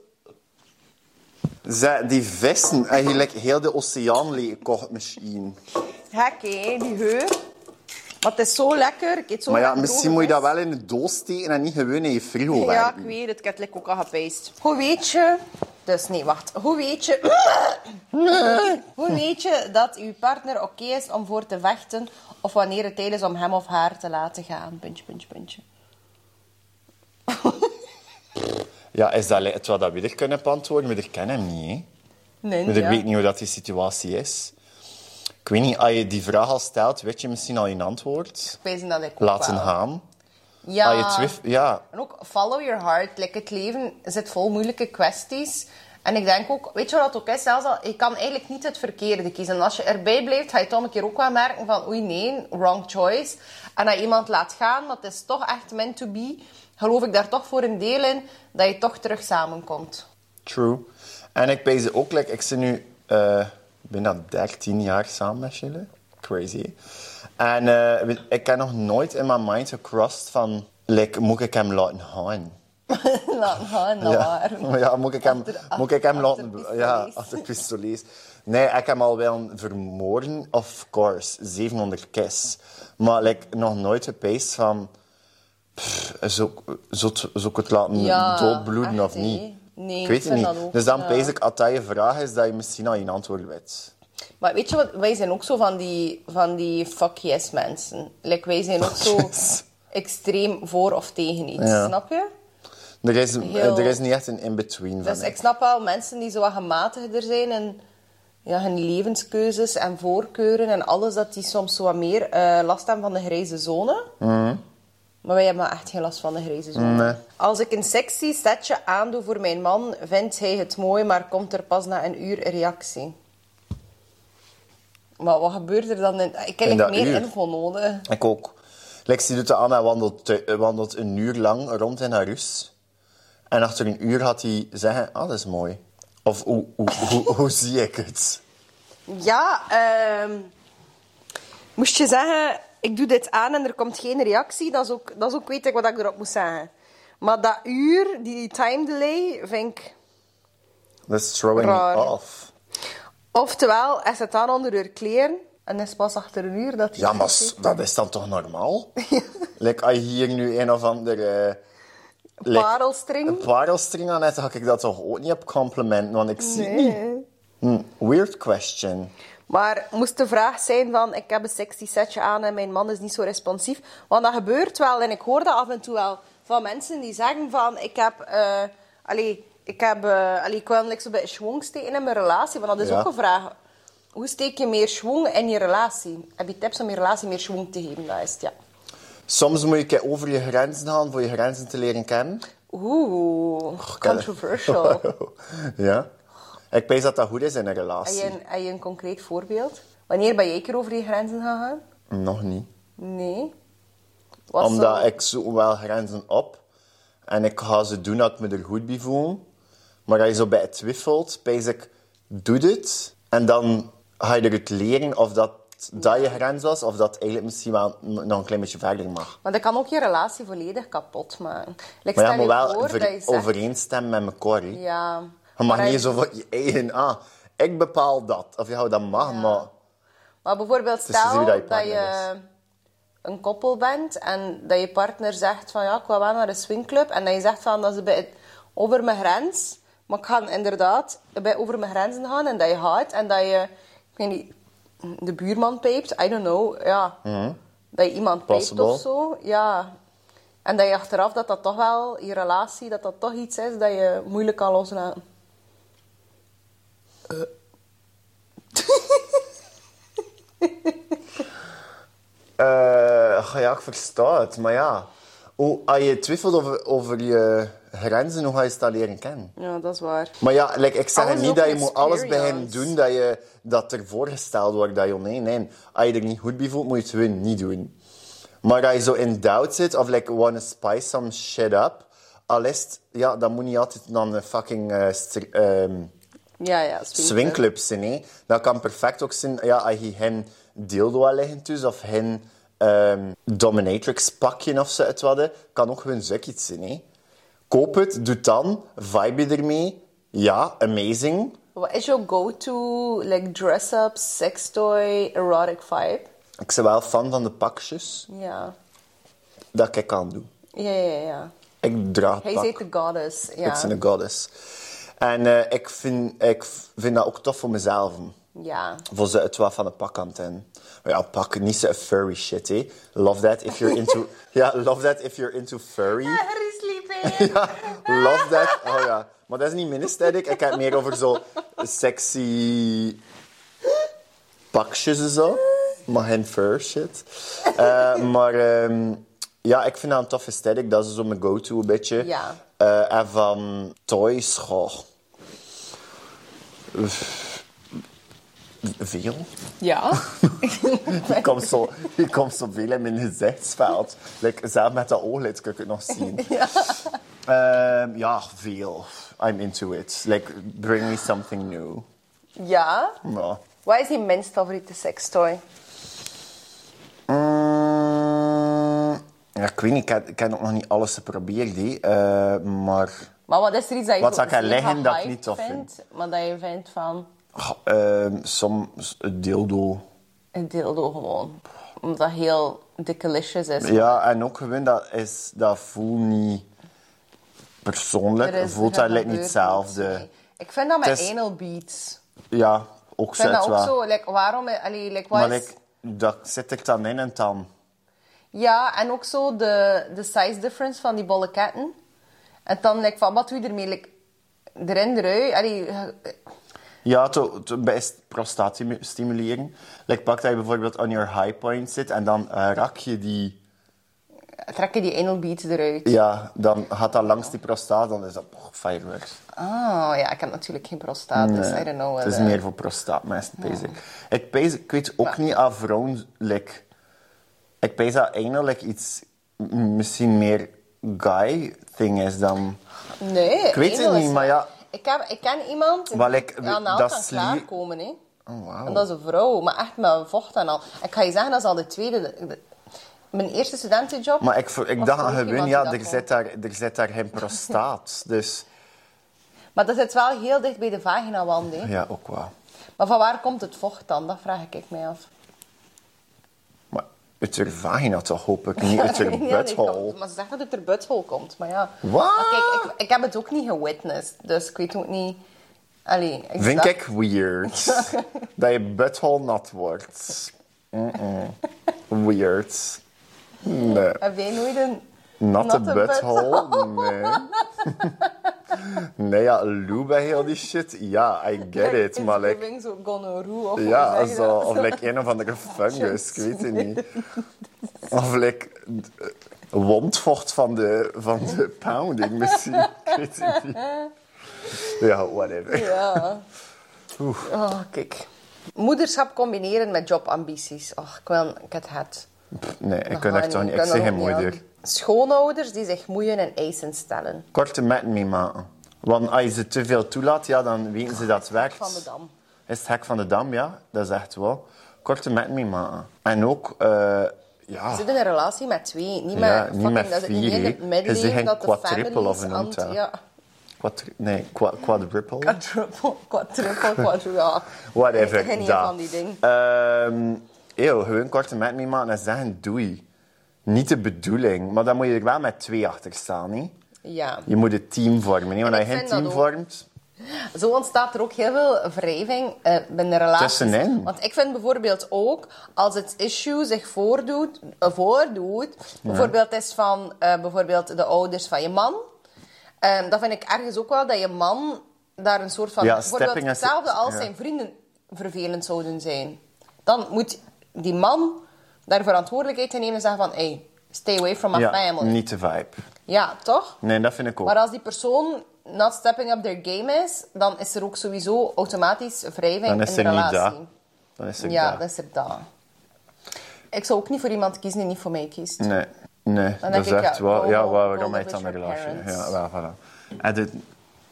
Zij, die vissen, eigenlijk heel de oceaan leken kocht misschien. Hek, hé, die heur. Maar het is zo lekker. Ik eet zo Maar ja, graag misschien droge moet je dat vis. wel in de doos steken en niet gewoon in je frigo Ja, werken. ik weet het. Ik heb het like ook al gepijst. Hoe weet je... Dus nee, wacht. Hoe weet je... Hoe weet je dat uw partner oké is om voor te vechten... of wanneer het tijd is om hem of haar te laten gaan? Puntje, puntje, puntje. Ja, is dat, li- terwijl dat we er kunnen op antwoorden, we er kennen hem niet. Hè? Nee, We ja. weten niet hoe dat die situatie is. Ik weet niet, als je die vraag al stelt, weet je misschien al een antwoord. Pijzen dat ik ook Laten wel. gaan. Ja. Als je twif- ja. En ook follow your heart. Like, het leven zit vol moeilijke kwesties. En ik denk ook, weet je wat dat ook is? Zelfs al, je kan eigenlijk niet het verkeerde kiezen. En als je erbij blijft, ga je toch een keer ook wel merken van oei nee, wrong choice. En dat je iemand laat gaan, maar het is toch echt meant to be. Geloof ik daar toch voor een deel in dat je toch terug samenkomt. <laughs> True. En ik ben ze ook, like, ik zit nu eh bijna 13 jaar samen met Chile. Crazy. hè? En eh, we- ik heb nog nooit in mijn mind gecrossed van, like, moet ik hem laten gaan? laat gaan, laat Ja, <laughs> maar. ja moet ik hem, Achter- moet ik hem achter laten... pistolees. Ja, achter pistolees. Nee, ik heb hem al wel vermoorden, of course. 700 kiss. Maar like, nog nooit gepijst van... pff, Zou ik- zou het- zou ik het laten Ja, doodbloeden echt, of niet? hè. Nee, ik ik weet het vind niet. dat ook, dus dan ja. pijs ik, als dat je vraag is, dat je misschien al een antwoord weet. Maar weet je wat, wij zijn ook zo van die, van die fuck yes mensen. Like, wij zijn ook zo yes. extreem voor of tegen iets, Ja. snap je? Er is, Heel- er is niet echt een in-between van Dus mij. ik snap wel mensen die zo wat gematigder zijn en ja, hun levenskeuzes en voorkeuren en alles, dat die soms zo wat meer eh, last hebben van de grijze zone. Maar wij hebben echt geen last van de grijze zone. Mhm. Nee. Als ik een sexy setje aandoe voor mijn man, vindt hij het mooi, maar komt er pas na een uur een reactie. Maar wat gebeurt er dan? In... Ik heb In dat echt meer uur? info nodig. Ik ook. Lexi doet dat aan en wandelt, te- eh, wandelt een uur lang rond in haar rus. En achter een uur gaat hij zeggen, ah, dat is mooi. Of hoe, hoe, hoe, hoe <laughs> zie ik het? Ja, ehm, moest je zeggen, ik doe dit aan en er komt geen reactie, dat is ook, dat is ook weet ik wat ik erop moet zeggen. Maar dat uur, die time delay, vind ik... Dat is throwing me Raar. off. Oftewel, hij zit aan onder haar kleren en is pas achter een uur dat hij... Ja, maar s- dat is dan toch <laughs> normaal? like, als je hier nu een of andere... eh, like, Parelstring? Een parelstring aan hebt, dan ga ik dat toch ook niet op complimenten, want ik zie het niet. Hm, weird question. Maar moest de vraag zijn van, ik heb een sexy setje aan en mijn man is niet zo responsief. Want dat gebeurt wel en ik hoor dat af en toe wel van mensen die zeggen van, ik heb... eh allee, ik heb... eh, allee, ik wil like, zo'n beetje schwung steken in mijn relatie. Want dat is Ja. ook een vraag. Hoe steek je meer schwung in je relatie? Heb je tips om je relatie meer schwung te geven? Dat is het, ja. Soms moet je een keer over je grenzen gaan voor je grenzen te leren kennen. Oeh, <laughs> controversial. ja. Ik weet dat dat goed is in een relatie. Heb je, een, heb je een concreet voorbeeld? Wanneer ben jij een keer over je grenzen gegaan? Nog niet. Nee. Wat Omdat zou- ik zoek wel grenzen op. En ik ga ze doen dat ik me er goed bij voel. Maar als je zo bij twijfelt, pees ik, doe dit. En dan ga je eruit leren of dat, dat je grens was. Of dat eigenlijk misschien wel n- nog een klein beetje verder mag. Want dat kan ook je relatie volledig kapot maken. Like, Maar ja, je moet stel je wel voor ver- dat je zegt... overeenstemmen met elkaar. hè. Ja. Je mag maar niet zo hij- van je eigen... Ah, ik bepaal dat. Of ja, dat mag, maar... Maar bijvoorbeeld is stel wie dat dat je je, partner een koppel bent en dat je partner zegt van ja, ik wil wel naar een swingclub. En dat je zegt van dat is een beetje over mijn grens. Maar ik ga inderdaad een beetje over mijn grenzen gaan en dat je gaat. En dat je, ik weet niet, de buurman pijpt. I don't know, ja. Dat je iemand pijpt Mhm. Possible. of zo. Ja. En dat je achteraf dat dat toch wel, je relatie, dat dat toch iets is dat je moeilijk kan loslaten. Eh, eh, ja, ik versta het, maar ja. Hoe, als je twijfelt over, over je grenzen, hoe ga je het dan leren kennen? Ja, dat is waar. Maar ja, like, ik zeg Alles niet ook dat je een moet alles bij hem experience. doen dat, je, dat er voorgesteld wordt dat je oh nee, nee. Als je er niet goed bij voelt, moet je het gewoon niet doen. Maar als je zo in doubt zit of like wanna spice some shit up, al is het- ja, dan moet niet altijd dan een fucking eh, str- ehm, Ja, ja. swingclub. swingclub zijn. Hè. Dat kan perfect ook zijn ja, als je hen deelde wil liggen dus, of hen ehm, dominatrix pakje of zo het hadden, kan ook gewoon zoek iets zijn. Hè. Koop het, doe het dan, vibe je ermee. Ja, amazing. Wat is jouw go-to like dress-up, sextoy, erotic vibe? Ik ben wel fan van de pakjes Ja. dat ik aan doe. Ja, ja, ja. Ik draag Hij pak. zegt de goddess. Ik ben Ja. een goddess. En eh, ik, vind, ik vind dat ook tof voor mezelf. Ja. Voor ze het wel van een pak aan het hebben. Maar ja, pak, niet zo'n furry shit, hè. Love that if you're into... <laughs> ja, love that if you're into furry. <laughs> Harry sleeping. Ja, love that. Oh ja. Maar dat is niet ministerik. Ik heb het meer over zo sexy pakjes en zo. Maar geen fur shit. Eh, maar ehm, ja, ik vind dat een toffe aesthetic. Dat is zo mijn go-to een beetje. Ja. Eh, en van toys, goh. Uff. Veel. Ja. Hier komt zo, hier komt zo veel in mijn gezichtsveld. Like, zelf met dat ooglid kan ik het nog zien. Ehm, ja, veel. I'm into it. Like, bring me something new. <laughs> ja. Ja. Wat is je minst favoriete sextoy? Mm, ja, ik weet niet, ik heb, ik heb nog niet alles geprobeerd, hè. Eh, maar Maar wat is er iets dat je Wat zo zou ik aan mega leggen dat ik hype niet tof vindt, Maar dat je vindt van goh, ehm, soms een dildo. een dildo gewoon. Omdat dat heel delicious is. Ja, en ook gewoon, dat, is, dat voelt niet persoonlijk. Er is- voelt er dat lijkt niet gebeurt niks hetzelfde. mee. Ik vind dat met Het is- anal beats. Ja, ook Ik vind zet dat ook wel. zo. Like, waarom... Allee, like, wat Maar is- like, dat zit ik dan in en dan... Ja, en ook zo de, de size difference van die bolleketten. En dan, like, van, wat doe je ermee? Like, erin, eruit. Allee, eh, je- Ja, to, to, bij st- prostaat stimu- stimuleren. Like, pak dat je bijvoorbeeld on your high point zit en dan eh, rak je die... trek je die anal beads eruit. Ja, dan gaat dat langs die prostaat, dan is dat oh, fireworks. Ah, ja, ik heb natuurlijk geen prostaat, dus I Nee, don't know. het is eh, meer voor prostaatmensen, pees ik. Ik, pees, ik weet ook niet aan vrouwen... Like, ik pees dat eigenlijk iets m- misschien meer guy-thing is dan... Nee, Ik weet het anal is- niet, maar ja... Ik, heb, ik ken iemand Wel, die ik- aan naald dat kan slie- klaarkomen. Hè. Oh, En wauw. dat is een vrouw, maar echt met vocht en al. Ik ga je zeggen, dat is al de tweede... de- de- mijn eerste studentenjob... Maar ik, ik was dacht er ook aan gewoon, iemand ja, die dat er zit, daar, er zit daar geen <laughs> prostaat. Dus kon. Maar dat zit wel heel dicht bij de vaginawand. Hè. ja, ook wel. Maar van waar komt het vocht dan? Dat vraag ik mij af. Maar uit haar vagina toch, hoop ik. Niet uit <laughs> Ja, haar die butthole. komt- Maar ze zeggen dat het uit haar butthole komt, maar ja. Wat? Maar kijk, ik, ik heb het ook niet gewitnessed, dus ik weet ook niet... Allee, ik Vind dacht- ik <laughs> weird. dat je butthole nat wordt. Mm-mm. Weird. Nee. Heb jij nooit een... Natte Natte butthole? Nee. <laughs> nee, ja, Lou bij heel die shit. Ja, I get it. Maar like, Thanksgiving, zo gonorrhoe of Ja, hoe zeg je zo, dat? <laughs> of like een of andere fungus, ik weet het niet. Of like d- wondvocht van de, van de pounding misschien, ik weet het niet. Ja, whatever. Ja. Oh, kijk. Moederschap combineren met jobambities. Och, ik, wil, ik het het. Nee, ik Dat kan gaat echt toch niet, ik kan zeg er hem ook niet moeder. aan. Schoonouders die zich moeien en eisen stellen. Korte metten mee maken. Want als je ze te veel toelaat, ja, dan weten ze dat het werkt. Van de dam. Is het hek van de dam, ja, dat is echt wel. Korte metten mee maken. En ook, eh, ja... Ze zit in een relatie met twee, niet met Ja, niet fucking, met dat is niet vier, in hè. het Je zegt middenleven geen dat de quadruple families of een aan- nota. ja, Quadri- nee, qua- quadruple. quadruple, quadruple, <laughs> quadruple, ja. Whatever. Ik ken niet da. van die ding. Ehm, eeuw, gewoon korte met me maken en zeggen doei. Niet de bedoeling, maar dan moet je er wel met twee achter staan. Niet? Ja. Je moet het team vormen. Niet? Want Ik als je geen vind dat team ook. vormt, Zo ontstaat er ook heel veel wrijving eh binnen relaties. Tussenin. Want ik vind bijvoorbeeld ook, als het issue zich voordoet, eh, voordoet bijvoorbeeld is van eh, bijvoorbeeld de ouders van je man, eh, dan vind ik ergens ook wel dat je man daar een soort van... Ja, bijvoorbeeld stepping is- hetzelfde als ja. zijn vrienden vervelend zouden zijn. Dan moet die man daar verantwoordelijkheid in nemen en zeggen van... Hey, stay away from my Ja, family. niet de vibe. Ja, toch? Nee, dat vind ik ook. Maar als die persoon not stepping up their game is... dan is er ook sowieso automatisch wrijving Dan is in de er niet relatie. dat. Dan is er Ja, dat. dat is er dat. Ik zou ook niet voor iemand kiezen die niet voor mij kiest. Nee, nee. Dan dat denk is ik, ja, oh, echt wel... roll Ja, over- waarom roll heet dan over de with your relatie? Ja, parents. wel, voilà. Add een-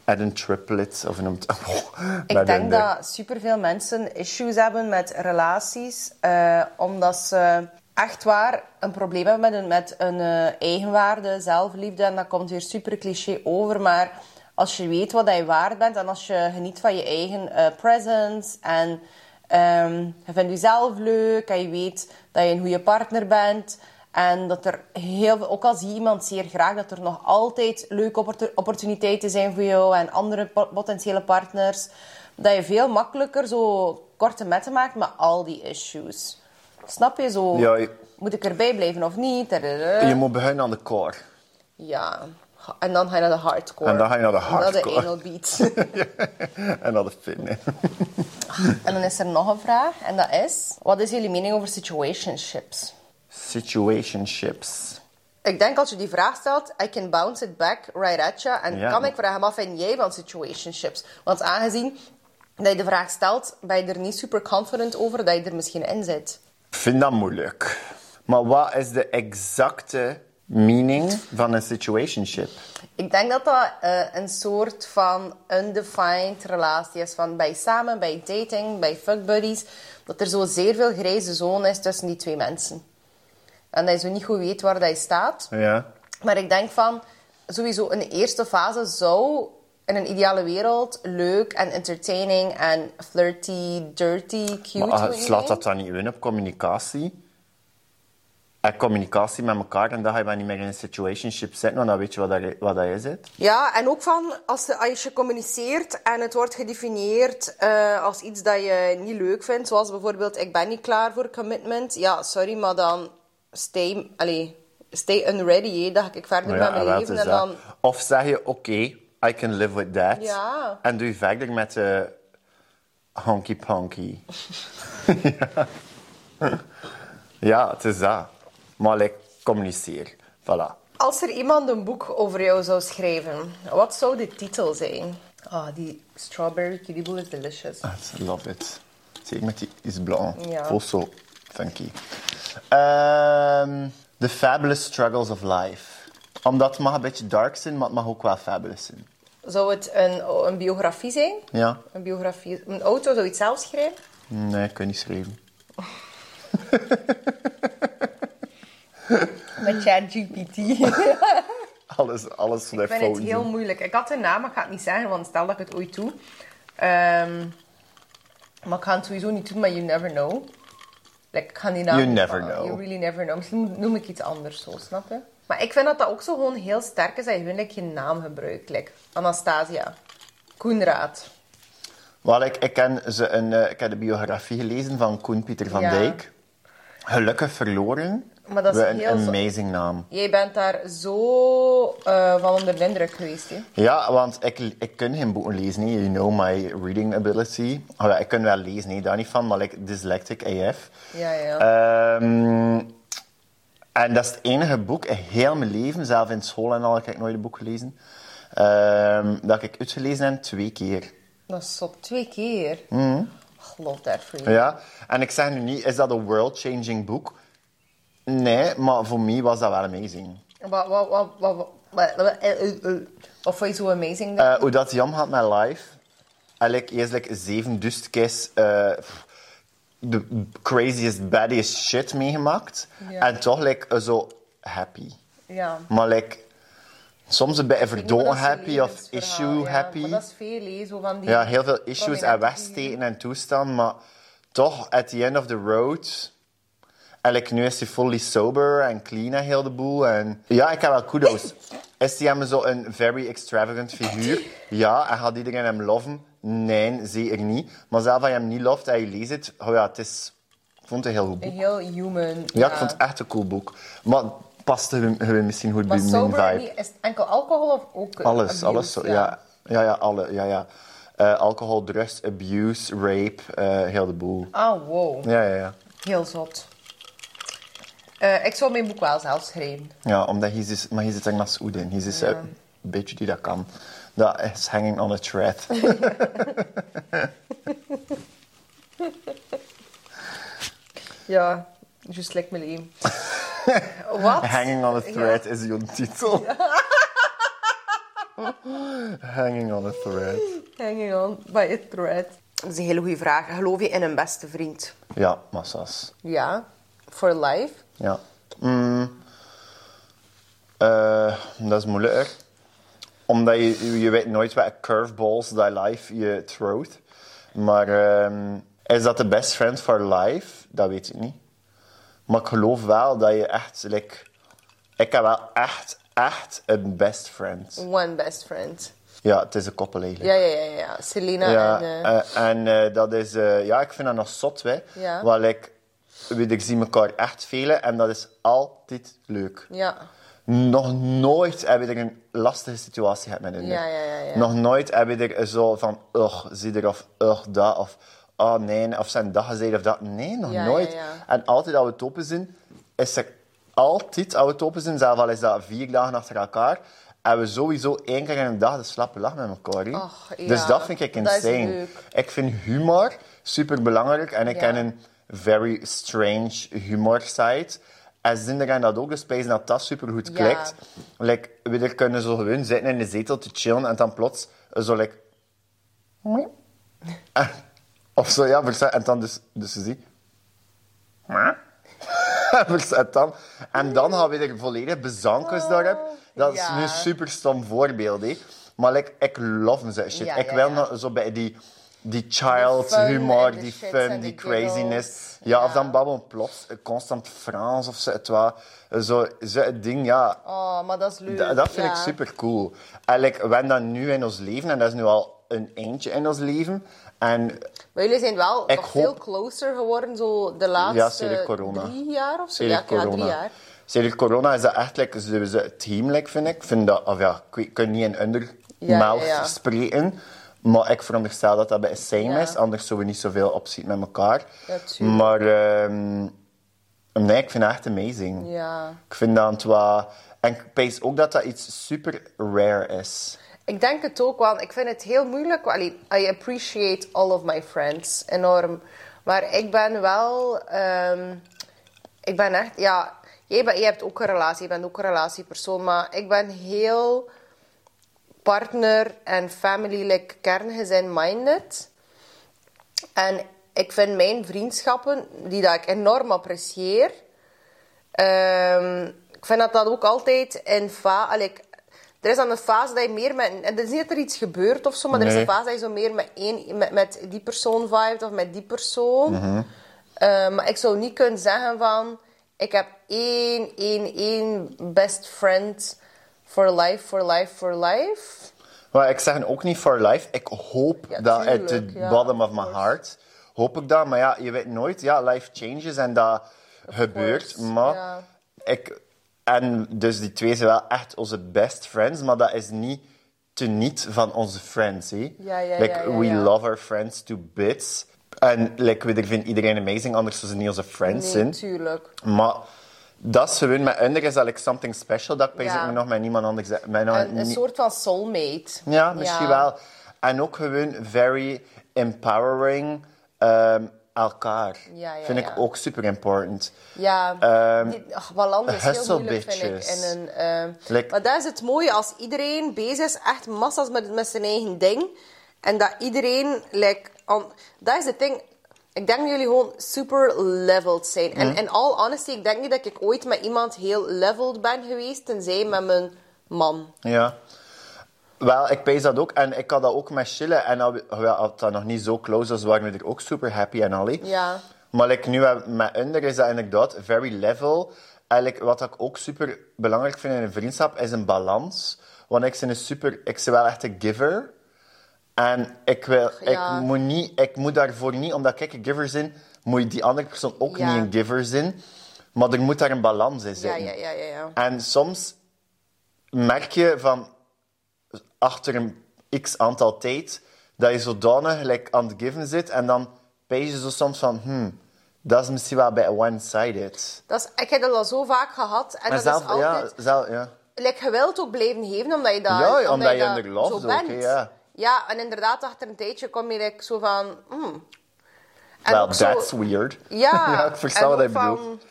add een triplet of een... <laughs> Ik denk dat superveel mensen issues hebben met relaties, eh, omdat ze echt waar een probleem hebben met hun, met hun eh, eigenwaarde, zelfliefde. En dat komt weer super cliché over, maar als je weet wat je waard bent en als je geniet van je eigen eh, presence en ehm, je vindt jezelf leuk en je weet dat je een goede partner bent. En dat er heel veel, ook al zie je iemand zeer graag, dat er nog altijd leuke oppor- opportuniteiten zijn voor jou en andere po- potentiële partners. Dat je veel makkelijker zo korte metten maakt met al die issues. Snap je zo? Ja, je- Moet ik erbij blijven of niet? Tadada. Je moet beginnen aan de core. Ja. En dan ga je naar de hardcore. En dan ga je naar de Naar hardcore. de anal beat. en dat is fitness. <laughs> en dan is er nog een vraag. En dat is... Wat is jullie mening over situationships? Situationships. Ik denk als je die vraag stelt, I can bounce it back right at you. En Ja. kan ik vragen, wat vind jij van situationships? Want aangezien dat je de vraag stelt, ben je er niet super confident over dat je er misschien in zit. Ik vind dat moeilijk. Maar wat is de exacte meaning van een situationship? Ik denk dat dat eh, een soort van undefined relatie is. Van bij samen, bij dating, bij fuckbuddies. Dat er zo zeer veel grijze zone is tussen die twee mensen. En dat je zo niet goed weet waar dat je staat. Ja. Maar ik denk van, sowieso een eerste fase zou in een ideale wereld leuk en entertaining en flirty, dirty, cute Maar ah, moeten slaat dat zijn. dan niet in op communicatie? En communicatie met elkaar, en dan ga je maar niet meer in een situationship zitten, want dan weet je wat dat, wat dat is. Het. Ja, en ook van als, de- als je communiceert en het wordt gedefinieerd eh, als iets dat je niet leuk vindt. Zoals bijvoorbeeld, ik ben niet klaar voor commitment. Ja, sorry, maar dan stay, allee, stay unready, hè, dat ik verder Maar met en mijn wel, leven. het En is dan, dat. Of zeg je, oké, I can live with that. Ja. En doe je verder met eh, de honky-ponky. ja. <laughs> ja, het is dat. Maar ik communiceer. Voilà. Als er iemand een boek over jou zou schrijven, wat zou de titel zijn? Ah, die strawberry kiddie is delicious. I love it. Zeker met die is blanc. Ja. Also, thank you. Ehm, the Fabulous Struggles of Life. Omdat het mag een beetje dark zijn, maar het mag ook wel fabulous zijn. Zou het een, een biografie zijn? Ja? Een biografie. Een auto zou iets zelf schrijven? Nee, ik kan niet schrijven. Met ChatGPT. ik Alles, alles voor de vind het fouten. heel moeilijk. Ik had de naam, maar ik ga het niet zeggen, want stel dat ik het ooit doe. Ehm, maar ik ga het sowieso niet doen, maar you never know. Like, ik ga die naam You niet never van- know. You really never know. Misschien noem ik iets anders zo, snap je? Maar ik vind dat dat ook zo gewoon heel sterk is dat je gewoon like, je naam gebruikt. Like, Anastasia. Koenraad. Wel, ik, ik, ken ze een, eh, ik heb de biografie gelezen van Koen Pieter van Ja. Dijk. Gelukkig verloren. Maar dat is Wat een heel zo- amazing naam. Jij bent daar zo eh, van onder de indruk geweest, hè? Ja, want ik, ik kan geen boeken lezen. hè. You know my reading ability. Oh, ja, ik kan wel lezen, hè, daar niet van. Maar ik dyslectic AF. Ja, ja. Ehm, en dat is het enige boek in heel mijn leven. Zelf in school en al heb ik nooit een boek gelezen. ehm, dat ik uitgelezen heb twee keer. Dat is zo twee keer. Mm-hmm. I love that for you. Ja, en ik zeg nu niet, is dat een world-changing boek? Nee, maar voor mij was dat wel amazing. Wat, wat, wat, wat, wat, wat, wat- eh, eh, eh, wat vond je zo amazing? Eh, hoe dat Jam had met live, en ik eerst like, zeven dustkes eh, pff, de craziest, baddest shit meegemaakt. Ja. En toch like, eh, zo happy. ja. Maar like, soms een beetje Ik denk verdoen dat dat happy zijn of levensverhaal, issue ja. happy. Maar dat is veel, hè, zo van die... Ja, heel veel issues en prominente wegsteken en toestaan, maar toch, at the end of the road. Eigenlijk nu is hij fully sober en clean en heel de boel. En ja, ik heb wel kudo's. Is die hem zo een very extravagant figuur? Ja, en gaat iedereen hem loven? Nee, zeker niet. Maar zelf als je hem niet loft en je leest het, oh ja, het is... Ik vond het een heel goed boek. Heel human. Ja, ik vond het echt een cool boek. Maar het paste hun- hun misschien goed Maar bij mijn sober, vibe. niet- is het enkel alcohol of ook eh, Alles, abuse? alles. Zo, ja. Ja, ja, alle, ja, ja. Eh, alcohol, drugs, abuse, rape, eh heel de boel. Ah, wow. Ja, ja, ja. Heel zot. Eh, ik zou mijn boek wel zelf schrijven. Ja, omdat hij is, maar hij zit echt naast Oedin. Hij is eh, een beetje die dat kan. Dat is hanging on a thread. Ja, just like mijn leven. <laughs> Wat? hanging on a thread is jouw titel. <laughs> hanging on a thread. Hanging on by a thread. Dat is een hele goede vraag. Geloof je in een beste vriend? Ja, massas. Ja, for life. Ja. Mm. Eh, dat is moeilijker. Omdat je, je weet nooit welke curveballs die life je throwt. Maar ehm, is dat de best friend for life? Dat weet ik niet. Maar ik geloof wel dat je echt... Like, ik heb wel echt, echt een best friend. One best friend. Ja, het is een koppel eigenlijk. Ja, ja, ja. ja. Selena Ja, en... eh, eh, en eh, dat is, eh, ja, ik vind dat nog zot, hè. Ja. Want ik, weet, ik zie elkaar echt velen en dat is altijd leuk. ja. Nog nooit heb ik er een lastige situatie gehad met een Ja, neef. ja, ja, ja. Nog nooit heb ik er zo van, ugh, zie er of ugh, dat of oh nee, of zijn dat gezegd of dat. Nee, nog Ja, ja, nooit. ja. En altijd als we het open zijn, is er altijd als we het open zijn, zelfs al is dat vier dagen achter elkaar, hebben we sowieso één keer in de dag de slappe lach met elkaar. hè. Och, ja. Dus dat vind ik Dat is insane. leuk. Ik vind humor super belangrijk en ik Ja. ken een very strange humor site. En zinder gaan dat ook, dus pijzen dat dat super goed Ja. klikt. Like, we er kunnen zo gewoon zitten in de zetel te chillen en dan plots eh, zo like... "Mwah." <laughs> En- Of zo, ja, versta- en dan dus, dus je ziet... <laughs> "Mwah." en, dan, en dan gaan we er volledig bezankers door hebben. Dat is Oh, Ja. nu super stom voorbeeld, hè. Maar like, ik love ze shit. Ja, ik ja, wil ja. nog zo bij die, die child fun en humor, de die shits fun, en die de giggles. craziness. Ja, of Ja. dan babbelen plots constant Frans of zo. Het wa, zo, zo het ding, ja. Oh, maar dat is leuk. Da- dat vind ja. ik super cool. En like, we hebben dat nu in ons leven en dat is nu al een eentje in ons leven. En Maar jullie zijn wel Ik nog hoop- veel closer geworden zo de Ja, laatste sedert corona. drie jaar of zo. Sedert ja, ik- ja, drie jaar. Sedert corona is dat echt like, zo- zo team, like, vind ik. Ik Vind dat, of ja, ik kan niet in ondermelk ja, ja. spreken. Maar ik veronderstel dat dat bij same Ja. is. Anders zouden we niet zoveel opzien met elkaar. Ja, tuurlijk. maar ehm, nee, ik vind dat echt amazing. Ja. Ik vind dat het wa- En ik pees ook dat dat iets super rare is. Ik denk het ook, want ik vind het heel moeilijk. Allee, I appreciate all of my friends enorm. Maar ik ben wel... ehm, ik ben echt... Ja, jij, ben, jij hebt ook een relatie. Je bent ook een relatiepersoon. Maar ik ben heel partner- en family-like kerngezin-minded. En ik vind mijn vriendschappen, die dat ik enorm apprecieer... Ehm, ik vind dat dat ook altijd in fa- allee, ik- Er is dan een fase dat je meer met... en Het is niet dat er iets gebeurt of zo, maar er is Nee. een fase dat je zo meer met, één, met, met die persoon vibet of met die persoon. Mhm. Eh, maar ik zou niet kunnen zeggen van... Ik heb één, één, één best friend for life, for life, for life. Maar ik zeg ook niet for life. Ik hoop Ja, dat uit tuurlijk, the ja, bottom of of my course. heart. Hoop ik dat. Maar ja, je weet nooit. Ja, life changes en dat gebeurt. course, maar ja. ik... En dus die twee zijn wel echt onze best friends. Maar dat is niet teniet van onze friends, hè. Ja, ja, like, ja, ja, we ja. love our friends to bits. En like, ik vind iedereen amazing, anders zou ze niet onze friends zijn. Nee, tuurlijk. Maar dat is gewoon met Under is dat like something special. Dat ik Ja. ja. nog met niemand anders... Met Een, een nie- soort van soulmate. ja, misschien wel. En ook gewoon very empowering ehm, elkaar. Ja, ja, Vind ja. ik ook super important. Ja, Ehm, die, ach, balans is heel hustle moeilijk, vind ik. bitches. In een, ehm, Like- maar dat is het mooie, als iedereen bezig is, echt massas met, met zijn eigen ding. En dat iedereen, like, on- dat is het ding. Ik denk dat jullie gewoon super leveled zijn. Mhm. En in all honesty, ik denk niet dat ik ooit met iemand heel leveled ben geweest, tenzij met mijn man. Ja. Wel, ik pees dat ook. En ik had dat ook met chillen. En al- hoewel had dat nog niet zo close was, waren we er ook super happy en allee. Ja. Maar like, nu heb- met Under is dat inderdaad very level. En like, wat ik ook super belangrijk vind in een vriendschap, is een balans. Want ik ben een super... Ik ben wel echt een giver. En ik, wil, Ja. ik, moet niet, ik moet daarvoor niet, omdat ik een giver ben, moet die andere persoon ook Ja. niet een giver zijn. Maar er moet daar een balans in Ja, zitten. ja, ja, ja. ja. En soms merk je van achter een x aantal tijd dat je zodanig like, aan het given zit en dan pees je zo soms van hmm, dat is misschien wel een beetje one-sided. Dat is, ik heb dat al zo vaak gehad. En Maar dat zelf, is altijd... ja, zelf, ja. like, je wilt ook blijven geven, omdat je dat... Ja, omdat je dat in de love zo is ook, bent. hè, ja. Ja, en inderdaad, achter een tijdje kom je like, zo van... hmm. En Well, ook zo- that's weird. <laughs> Ja, ik versta en wat hij ook van- bedoelt.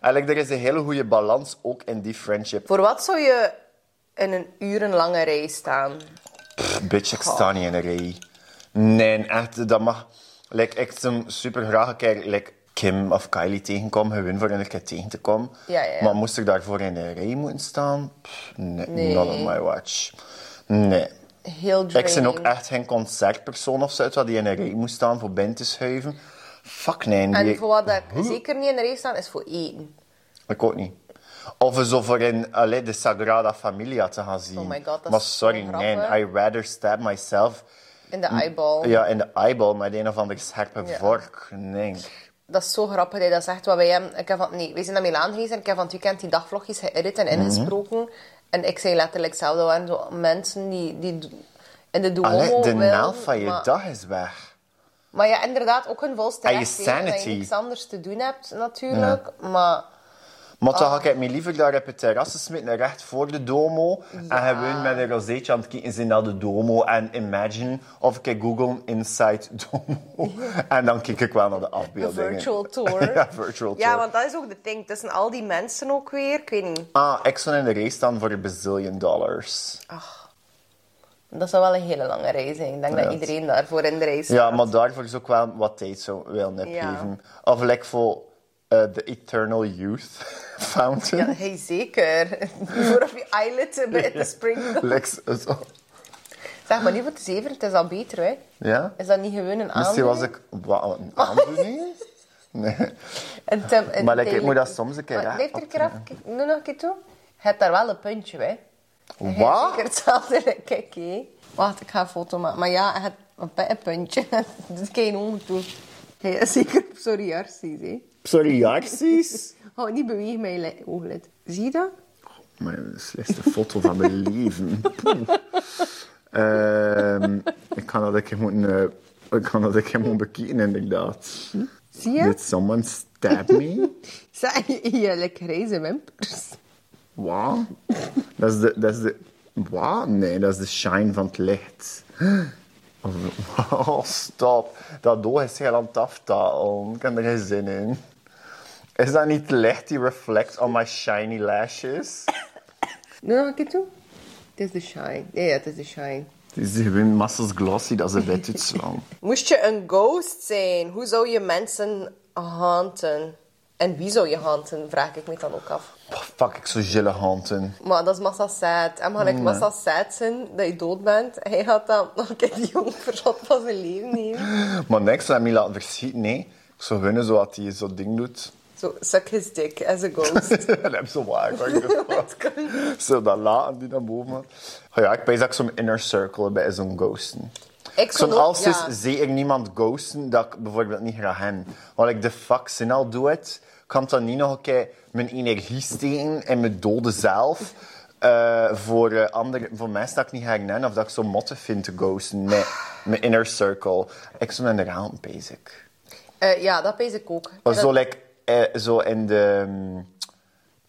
Eigenlijk, er is een hele goede balans ook in die friendship. Voor wat zou je in een urenlange rij staan? Pff, bitch, ik sta niet in de rij. Nee, echt, dat mag... Like, ik zou super graag een keer like, Kim of Kylie tegenkomen. Gewoon voor een keer tegen te komen. Ja, ja, ja. Maar moest ik daarvoor in de rij moeten staan? Pff, nee, Nee. not on my watch. Nee. Heel draining. Ik ben ook echt geen concertpersoon of zo, uit wat die in een rij moest staan voor binnen te schuiven. Fuck nee. die- En voor wat dat ik zeker niet in de rij staan, is voor eten. Ik ook niet. Of zo voor in allee, de Sagrada Familia te gaan zien. Oh my god, dat is maar zo sorry, nee. grappig. I rather stab myself In Hm. de eyeball. ja, in de eyeball met een of andere scherpe Ja. vork. Nee. Dat is zo grappig dat je dat zegt. Wat wij, hebben- ik heb van, nee, wij zijn naar Milaan geweest en ik heb van het weekend die dagvlogjes geëdit Mhm. en ingesproken. En ik zei letterlijk hetzelfde. Er waren zo mensen die, die do- in de Duomo Allee, de wilden, naam van je maar, dag is weg. Maar ja, inderdaad, ook hun volste En je recht, hè, Dat je sanity. niks anders te doen hebt, natuurlijk. Maar Maar dan Ah. ga ik me liever daar op het terras smitten, recht voor de domo. En gewoon met een rozeetje aan het kijken zijn naar de domo. En imagine, of ik google inside <laughs> domo. En dan kijk ik wel naar de afbeeldingen. <laughs> virtual tour. ja, virtual tour. Ja, want dat is ook de ding. Tussen al die mensen ook weer. Ik weet niet. Ah, ik zou in de race staan voor een bazillion dollars. Dat zou wel een hele lange reis zijn. Ik denk Ja. dat iedereen daarvoor in de reis Ja, maar daarvoor is ook wel wat tijd zo willen Ja. opgeven. Of like voor eh, de Eternal Youth <laughs> Fountain. Ja, hey, zeker. <laughs> Voor op je eyelid bij de spring. <laughs> Like zo- zo. Zeg maar niet voor te zeven, het is al beter, hè? Ja? Is dat niet gewoon een aandoening? Misschien Dus was ik... Wat, een aandoening? Nee. <laughs> En Tim, en Maar like, ik Taylor- moet dat soms een keer Maar recht Blijf er een keer af. Kijk, Doe nog een keer toe. Je hebt daar wel een puntje, hè? Je hebt Wat? Zeker hetzelfde. <laughs> Kijk, hé. Wacht, ik ga een foto maken. Maar ja, je hebt een pe- een puntje. <laughs> Dit kan je ongeveer doen. Hey, zeker op sorry arsies, hè? Sorry, reacties? Oh, niet bewegen mijn li- ooglid. Zie je dat? Mijn slechtste foto van mijn leven. Poeh. Ehm, ik kan dat een keer moeten... eh, ik kan dat een keer moeten bekijken, inderdaad. <laughs> Zie Did je? someone stab me? Zeg je, je lekker grijze wimpers. Wat? Dat is de... Dat is de... Wat? Nee, dat is de shine van het licht. Oh, stop. Dat doel is heel aan het aftalen. Ik heb er geen zin in. Is dat niet het licht die reflects on my shiny lashes? Doe nog een keer toe. Het is de shine. Ja, ja, het is de shine. Het is gewoon massas glossy dat ze wit uitslaan. <laughs> Moest je een ghost zijn, hoe zou je mensen haunten? En wie zou je haunten, vraag ik me dan ook af. Oh, fuck, ik zo gille handen. Maar dat is massa sad. En maar ik massa sad zijn dat je dood bent. Hij gaat dan <laughs> nog een keer die jong verzot van zijn leven nemen. Maar niks, dat mij laten verschieten, nee. Ik zou winnen zodat hij zo'n ding doet. Zo, suck his dick as a ghost. <laughs> dat heb zo waar. hoor. Dat kan niet. Zo dat laten die naar boven. Oh ja, ik ben dat ik zo'n inner circle bij zo'n ghosten. Ik Zo'n zou ook- als is ja. zeker niemand ghosten dat ik bijvoorbeeld niet graag hen. Want ik de fuck zin al doe het, kan dan niet nog een keer mijn energie steken en mijn dode zelf. eh, voor, eh, andere, voor mensen dat ik niet herken of dat ik zo motten vind te ghosten. Nee, mijn inner circle. Ik ben in de raam bezig. Eh, ja, dat pees ik ook. Maar Dat- zo, like, eh, zo in de mm,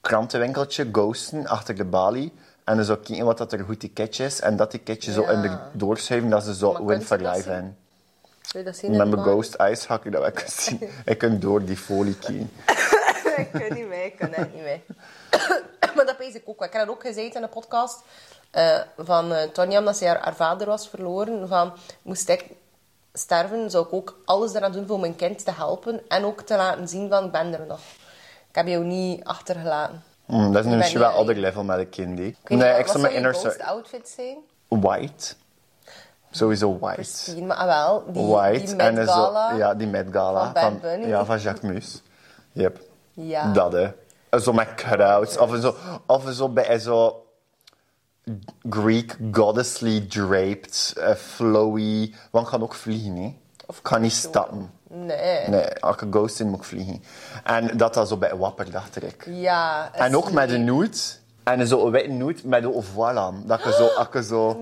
krantenwinkeltje ghosten achter de balie. En dan zo kijken wat dat er een goed ticketje is. En dat ticketje zo Ja. in de doorschuiven dat ze zo Maar win kunt je for dat life zien? en Wil je dat zien in Met de mijn bar? ghost eyes hak ik dat wel kunnen zien. <laughs> Ik kan door die folie kiezen. ik kan niet mee, ik kan echt niet mee. <coughs> maar dat pees ik ook wel. Ik heb dat ook gezegd in een podcast eh, van eh Tonja, omdat ze haar, haar vader was verloren. Van, moest ik sterven, zou ik ook alles eraan doen om mijn kind te helpen. En ook te laten zien van, ik ben er nog. Ik heb jou niet achtergelaten. Mm, dat is nu ben misschien niet wel een ander alleen. level met een kind. hè. Ik weet Nee, niet, ik wat zou zou mijn je inner ghost circle... outfit zijn? White. Sowieso white. Pristine, maar ah wel. Die, White. die en Met zo- Gala. ja, die Met Gala. van Bad Bunny. ja, van Jacques Mus. Yep. Ja. Dat, hè. En Zo met cutouts. Of zo, of zo bij zo... Greek goddessly draped, eh, flowy. Want ik kan ook vliegen, hè. Of kan niet stappen. Nee. Nee, als ik ghost in moet ik vliegen. En dat dat zo bij wapper, dacht ik. Ja. <gasps> En ook met een nude. En zo een witte nude met een voile aan. Dat je zo, als je zo...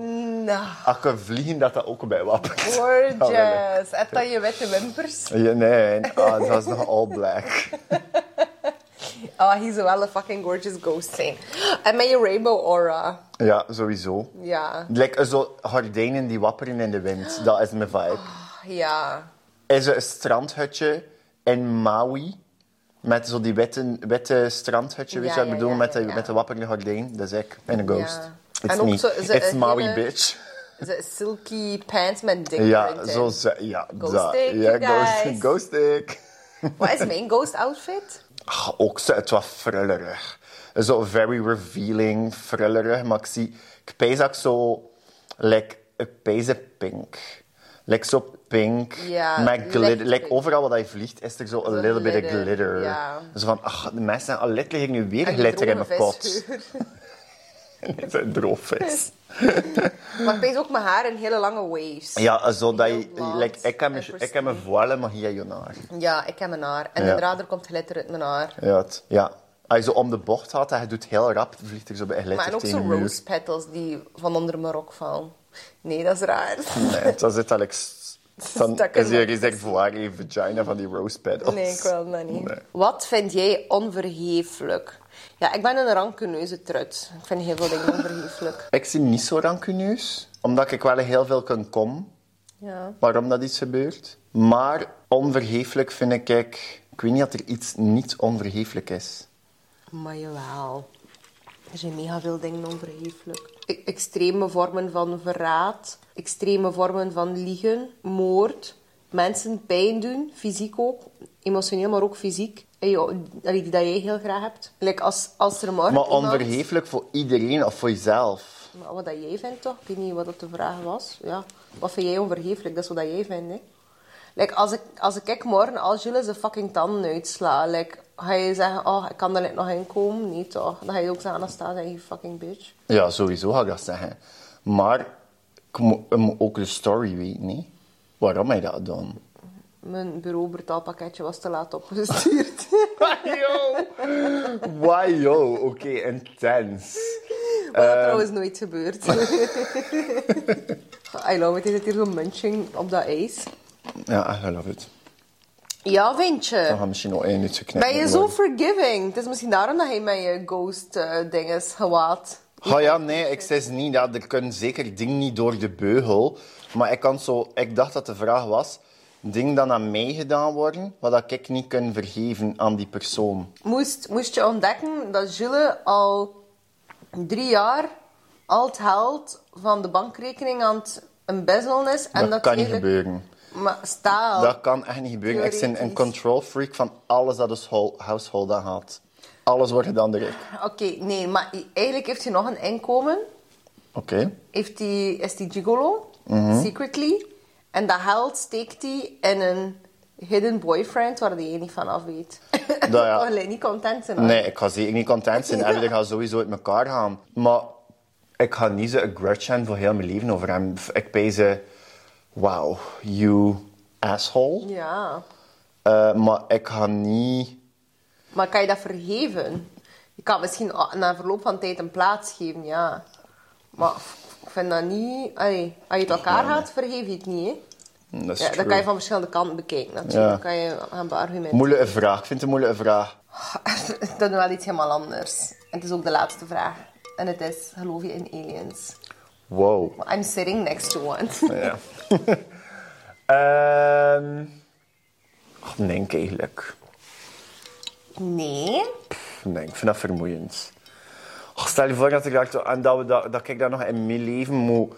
Nou, <laughs> Als je vliegen, dat dat ook bij wappert. <laughs> Dat wil ik. gorgeous. Heb dat je witte wimpers? Ja, nee, ah, dat is nog all black. Ah, hij zou wel een fucking gorgeous ghost zijn. En met je rainbow aura. Ja, sowieso. Ja. Like eh, zo gordijnen die wapperen in de wind. Dat is mijn vibe. Ja. Is er een strandhutje in Maui. Met zo die witte, witte strandhutje, weet je Ja, wat ik ja, bedoel? ja, met, de, ja, ja. met de wapperende gordijn. Dat is ik. En een ghost. Ja. It's En ook me. zo- eh, ze- It's een Maui, hele- bitch. <laughs> Z- Silky pants met dick Ja, print in. zo... ze- Ja, Ghost dat. dick, Ja, you guys. ghost, ghost dick. Wat is mijn ghost outfit? Ah, ook zo, het was frullerig. Zo very revealing, frullerig. Maar ik zie, ik pees ook zo, like, ik pees het pink. Like zo pink, Ja, met licht glitter. Like pink. overal waar je vliegt, is er zo a little bit of glitter, glitter. ja. Zo van, ach, de mensen zijn al letterlijk nu weer En die glitter in droge mijn pot. <laughs> visgeur. Het is een droogvis. Maar ik pees ook mijn haar in hele lange waves. Ja, zo dat je, Heel blond like, ik heb mijn- en ik heb mijn voile, maar jij je naar. Ja, ik heb mijn haar. En Ja. inderdaad, er komt glitter uit mijn haar. Ja, het- ja. Als je zo om de bocht had en je doet heel rap, vliegt er zo bij glitter Maar en ook tegen zo de muur. rose petals die van onder mijn rok vallen. Nee, dat is <laughs> raar. Nee, dan zit dat like, s- dan Stak is in hier mijn- gezegd voila, je vagina van die rose petals. Nee, ik wil dat niet. Nee. Wat vind jij onvergeeflijk? Ja, ik ben een rankeneuze trut. Ik vind heel veel dingen onvergeeflijk. Ik zie niet zo rancuneus, omdat ik wel heel veel kan kom Ja. waarom dat iets gebeurt. Maar onvergeeflijk vind ik, ik, ik weet niet dat er iets niet onvergeeflijk is. Maar jawel. Er zijn mega veel dingen onvergeeflijk. E- Extreme vormen van verraad, extreme vormen van liegen, moord, mensen pijn doen, fysiek ook, emotioneel, maar ook fysiek. En jou- allee, die dat jij heel graag hebt. Like als, als er morgen Maar iemand- onvergeeflijk voor iedereen of voor jezelf. Maar wat dat jij vindt toch? Ik weet niet wat dat de vraag was. Ja. Wat vind jij onvergeeflijk? Dat is wat dat jij vindt, hè? Like, als, ik, als ik kijk morgen als jullie zijn fucking tanden uitsla, like, ga je zeggen, oh, ik kan er net nog in komen? Nee, toch? Dan ga je ook zeggen, Anastasia, je fucking bitch. Ja, sowieso ga ik dat zeggen. Maar ik moet ik moet ook de story weten, niet? Waarom hij dat dan? Mijn bureaubetaalpakketje was te laat opgestuurd. <laughs> Wajo! Wajo, oké, intens. Wat dat trouwens nooit gebeurt. <laughs> I love it. Is het hier zo'n munching op dat ijs? Ja, I love it. Ja, ventje. We gaan misschien nog één uurtje knippen. Ben je zo forgiving? Het is misschien daarom dat hij met je ghost eh, dinges gewaad. Ah ja, nee, ik zei niet. Ja, er kunnen zeker dingen niet door de beugel. Maar ik, kan zo, ik dacht dat de vraag was... Dingen dan aan mij gedaan worden, wat dat ik niet kan vergeven aan die persoon. Moest, moest je ontdekken dat Jules al drie jaar al het geld van de bankrekening aan het embezzelen is. En Dat, dat, kan niet eigenlijk- gebeuren. Maar staal. Dat kan echt niet gebeuren. Ik ben een theoretisch. control freak van alles dat dus hol- household aan gaat. Alles wordt gedaan door ik. Oké, nee, maar eigenlijk heeft hij nog een inkomen. Oké. Heeft hij is die gigolo, Mhm. secretly. En dat geld steekt hij in een hidden boyfriend waar hij niet van af weet. Dat <laughs> ja. niet content zijn. Nee, ik ga zeker niet content <laughs> zijn. En we gaan sowieso uit elkaar gaan. Maar ik ga niet zo een grudge hebben voor heel mijn leven over hem. Ik ben ze... Wauw, you asshole. Ja. Eh, maar ik ga niet... Maar kan je dat vergeven? Je kan misschien a- na verloop van tijd een plaats geven, ja. Maar f- ik vind dat niet... Allee, als je het elkaar gaat, vergeef je het niet, hè. Mm, Dat is Ja, dat true. kan je van verschillende kanten bekijken, natuurlijk. Ja. Dan kan je gaan beargumenten. Moeilijke vraag. Ik vind het een moeilijke vraag. <laughs> dat is wel iets helemaal anders. En het is ook de laatste vraag. En het is, geloof je in aliens? Wow. Well, I'm sitting next to one. Ja. <laughs> Ehm ach, nee, ik eigenlijk. <laughs> nee. Nee, ik vind dat vermoeiend. Och, stel je voor dat ik, dat, en dat, we dat, dat ik dat nog in mijn leven moet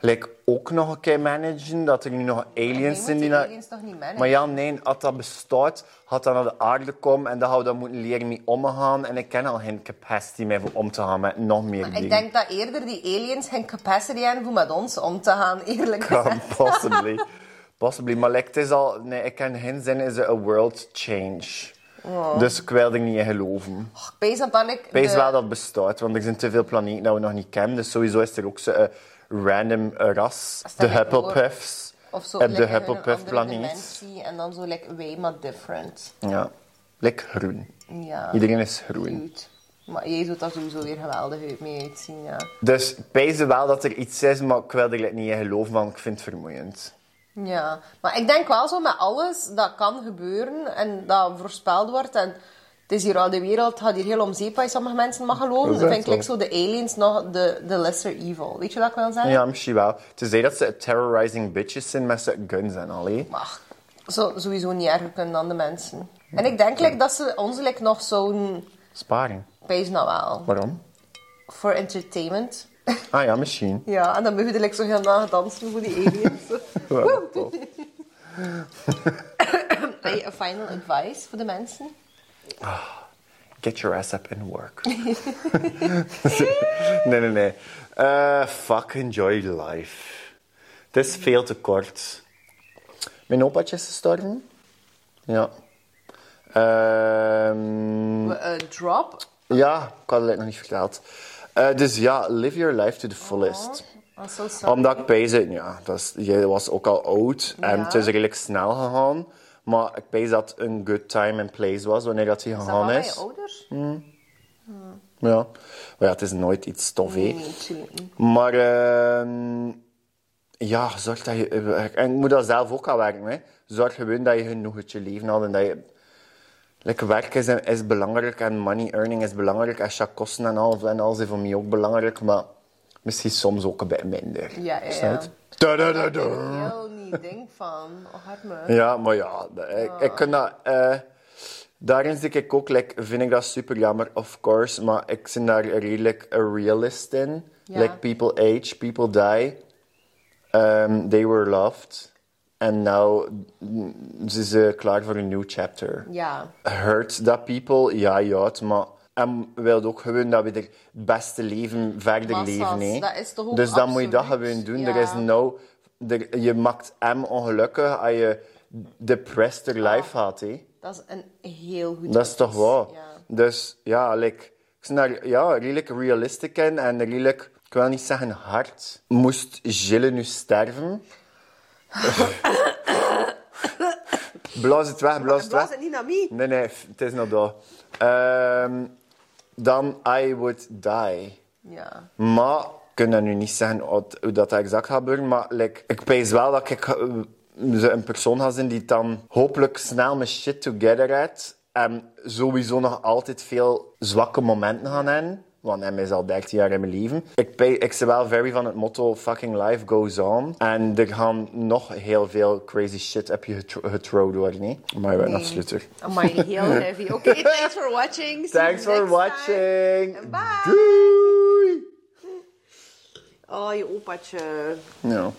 like, ook nog een keer managen. Dat er nu nog Je aliens moet zijn die... die naar- aliens toch niet managen? Maar ja, nee, als dat bestaat, had dat naar de aarde komen en dan hadden we dat moeten leren mee omgaan. En ik ken al geen capacity meer voor om te gaan met nog meer dingen. Ik <laughs> denk dat eerder die aliens geen capacity hebben om met ons om te gaan, eerlijk Kan, gezegd. possibly. possibly. Maar like, het is al... Nee, ik ken geen zin in een world change. Dus ik wil er niet in geloven. Pees dat dan ik... Wees de- wel dat het bestaat, want er zijn te veel planeten dat we nog niet kennen. Dus sowieso is er ook zo'n random eh, ras, Als dat de lekker Huppelpuffs. Of zo op de lekker in een Huppelpuff andere planeet. dimensie en dan zo like way maar different. Ja, lekker groen. Ja. Iedereen is groen. Cute. Maar jij doet daar sowieso weer geweldig uit- mee uitzien, ja. Dus ik pees wel dat er iets is, maar ik wil er like, niet in geloven, want ik vind het vermoeiend. Ja, maar ik denk wel zo met alles dat kan gebeuren en dat voorspeld wordt. En het is hier al de wereld, het gaat hier heel om zeep wat je sommige mensen mag geloven. Dat Dat is echt vind ik like zo de aliens nog de, de lesser evil. Weet je wat ik wil zeggen? Ja, misschien wel. Tenzij dat ze terrorizing bitches zijn met ze guns en al. hè. Maar zo, sowieso niet erger kunnen dan de mensen. En ik denk like, dat ze ons like, nog zo'n... Sparen. Pees nou wel. Waarom? Voor entertainment. Ah ja, misschien. Ja, en dan mogen we like, zo gaan na dansen voor die aliens. <laughs> <laughs> Wel, wel. Hey, a final advice voor de mensen? Get your ass up and work. <laughs> nee, nee, nee. Eh, fuck, enjoy life. Het is veel te kort. Mijn opaatje is gestorven. Ja. Ehm, We, eh, drop. ja, ik had het nog niet verteld. Eh, dus ja, live your life to the fullest. I'm so sorry. Omdat ik pees het, ja, dat is, je was ook al oud en Ja. het is redelijk snel gegaan. Maar ik pees dat een good time and place was wanneer dat hij Is dat gegaan van is. mijn ouders? Hm? Ja. Maar ja, het is nooit iets tof, hè. Nee, natuurlijk niet. Maar ehm, ja, zorg dat je... eh, En ik moet dat zelf ook aan werken, hè. Zorg gewoon dat je genoeg uit je leven had en dat je... Like, werk is, is belangrijk en money earning is belangrijk. En ja, kosten en al, en al zijn voor mij ook belangrijk, maar misschien soms ook een beetje minder. Ja, ja, Snap ja. je? Da-da-da-da. Ik Eh. heel niet denk van, oh harme. Ja, maar ja, ik, ik kan dat. eh, daarin zit ik ook, like, vind ik dat super jammer, of course, maar ik ben daar redelijk a realist in. Ja. Like, people age, people die. Ehm, they were loved. En now mm, ze zijn klaar voor een new chapter Ja, hurt that people, ja, ja, het, maar. En wil ook gewoon dat we er het beste leven verder Massas, leven. hè. dat is toch ook dus dan moet je dat absoluut, gewoon doen. ja. Er is nou, er, je maakt hem ongelukkig als je depressed er life had. Hè. dat is een heel goed Dat is toch advies. waar? Ja. Dus ja, like, ik ben daar ja, redelijk realistic in en redelijk, ik wil niet zeggen hard. Moest Gilles nu <laughs> sterven? blaas het weg, blaas het weg. Blaas het niet naar mij. Nee, nee, f- het is nog dat. Ehm, dan I would die. Ja. Maar ik kan dat nu niet zeggen wat- hoe dat exact gaat gebeuren. Maar like, ik pees wel dat ik eh, ze een persoon ga zijn die het dan hopelijk snel mijn shit together heeft. En sowieso nog altijd veel zwakke momenten gaan hebben. Want hem is al 13 jaar in mijn leven. Ik, pe- ik ben wel very van het motto fucking life goes on. En er gaan nog heel veel crazy shit op je getro- getrowd worden. hè. Maar we zijn Nee. afsluiter. Amai, <laughs> heel heavy. Oké, thanks for watching. See Thanks you for next time. watching. And bye. Doei. Oh, je opatje. No.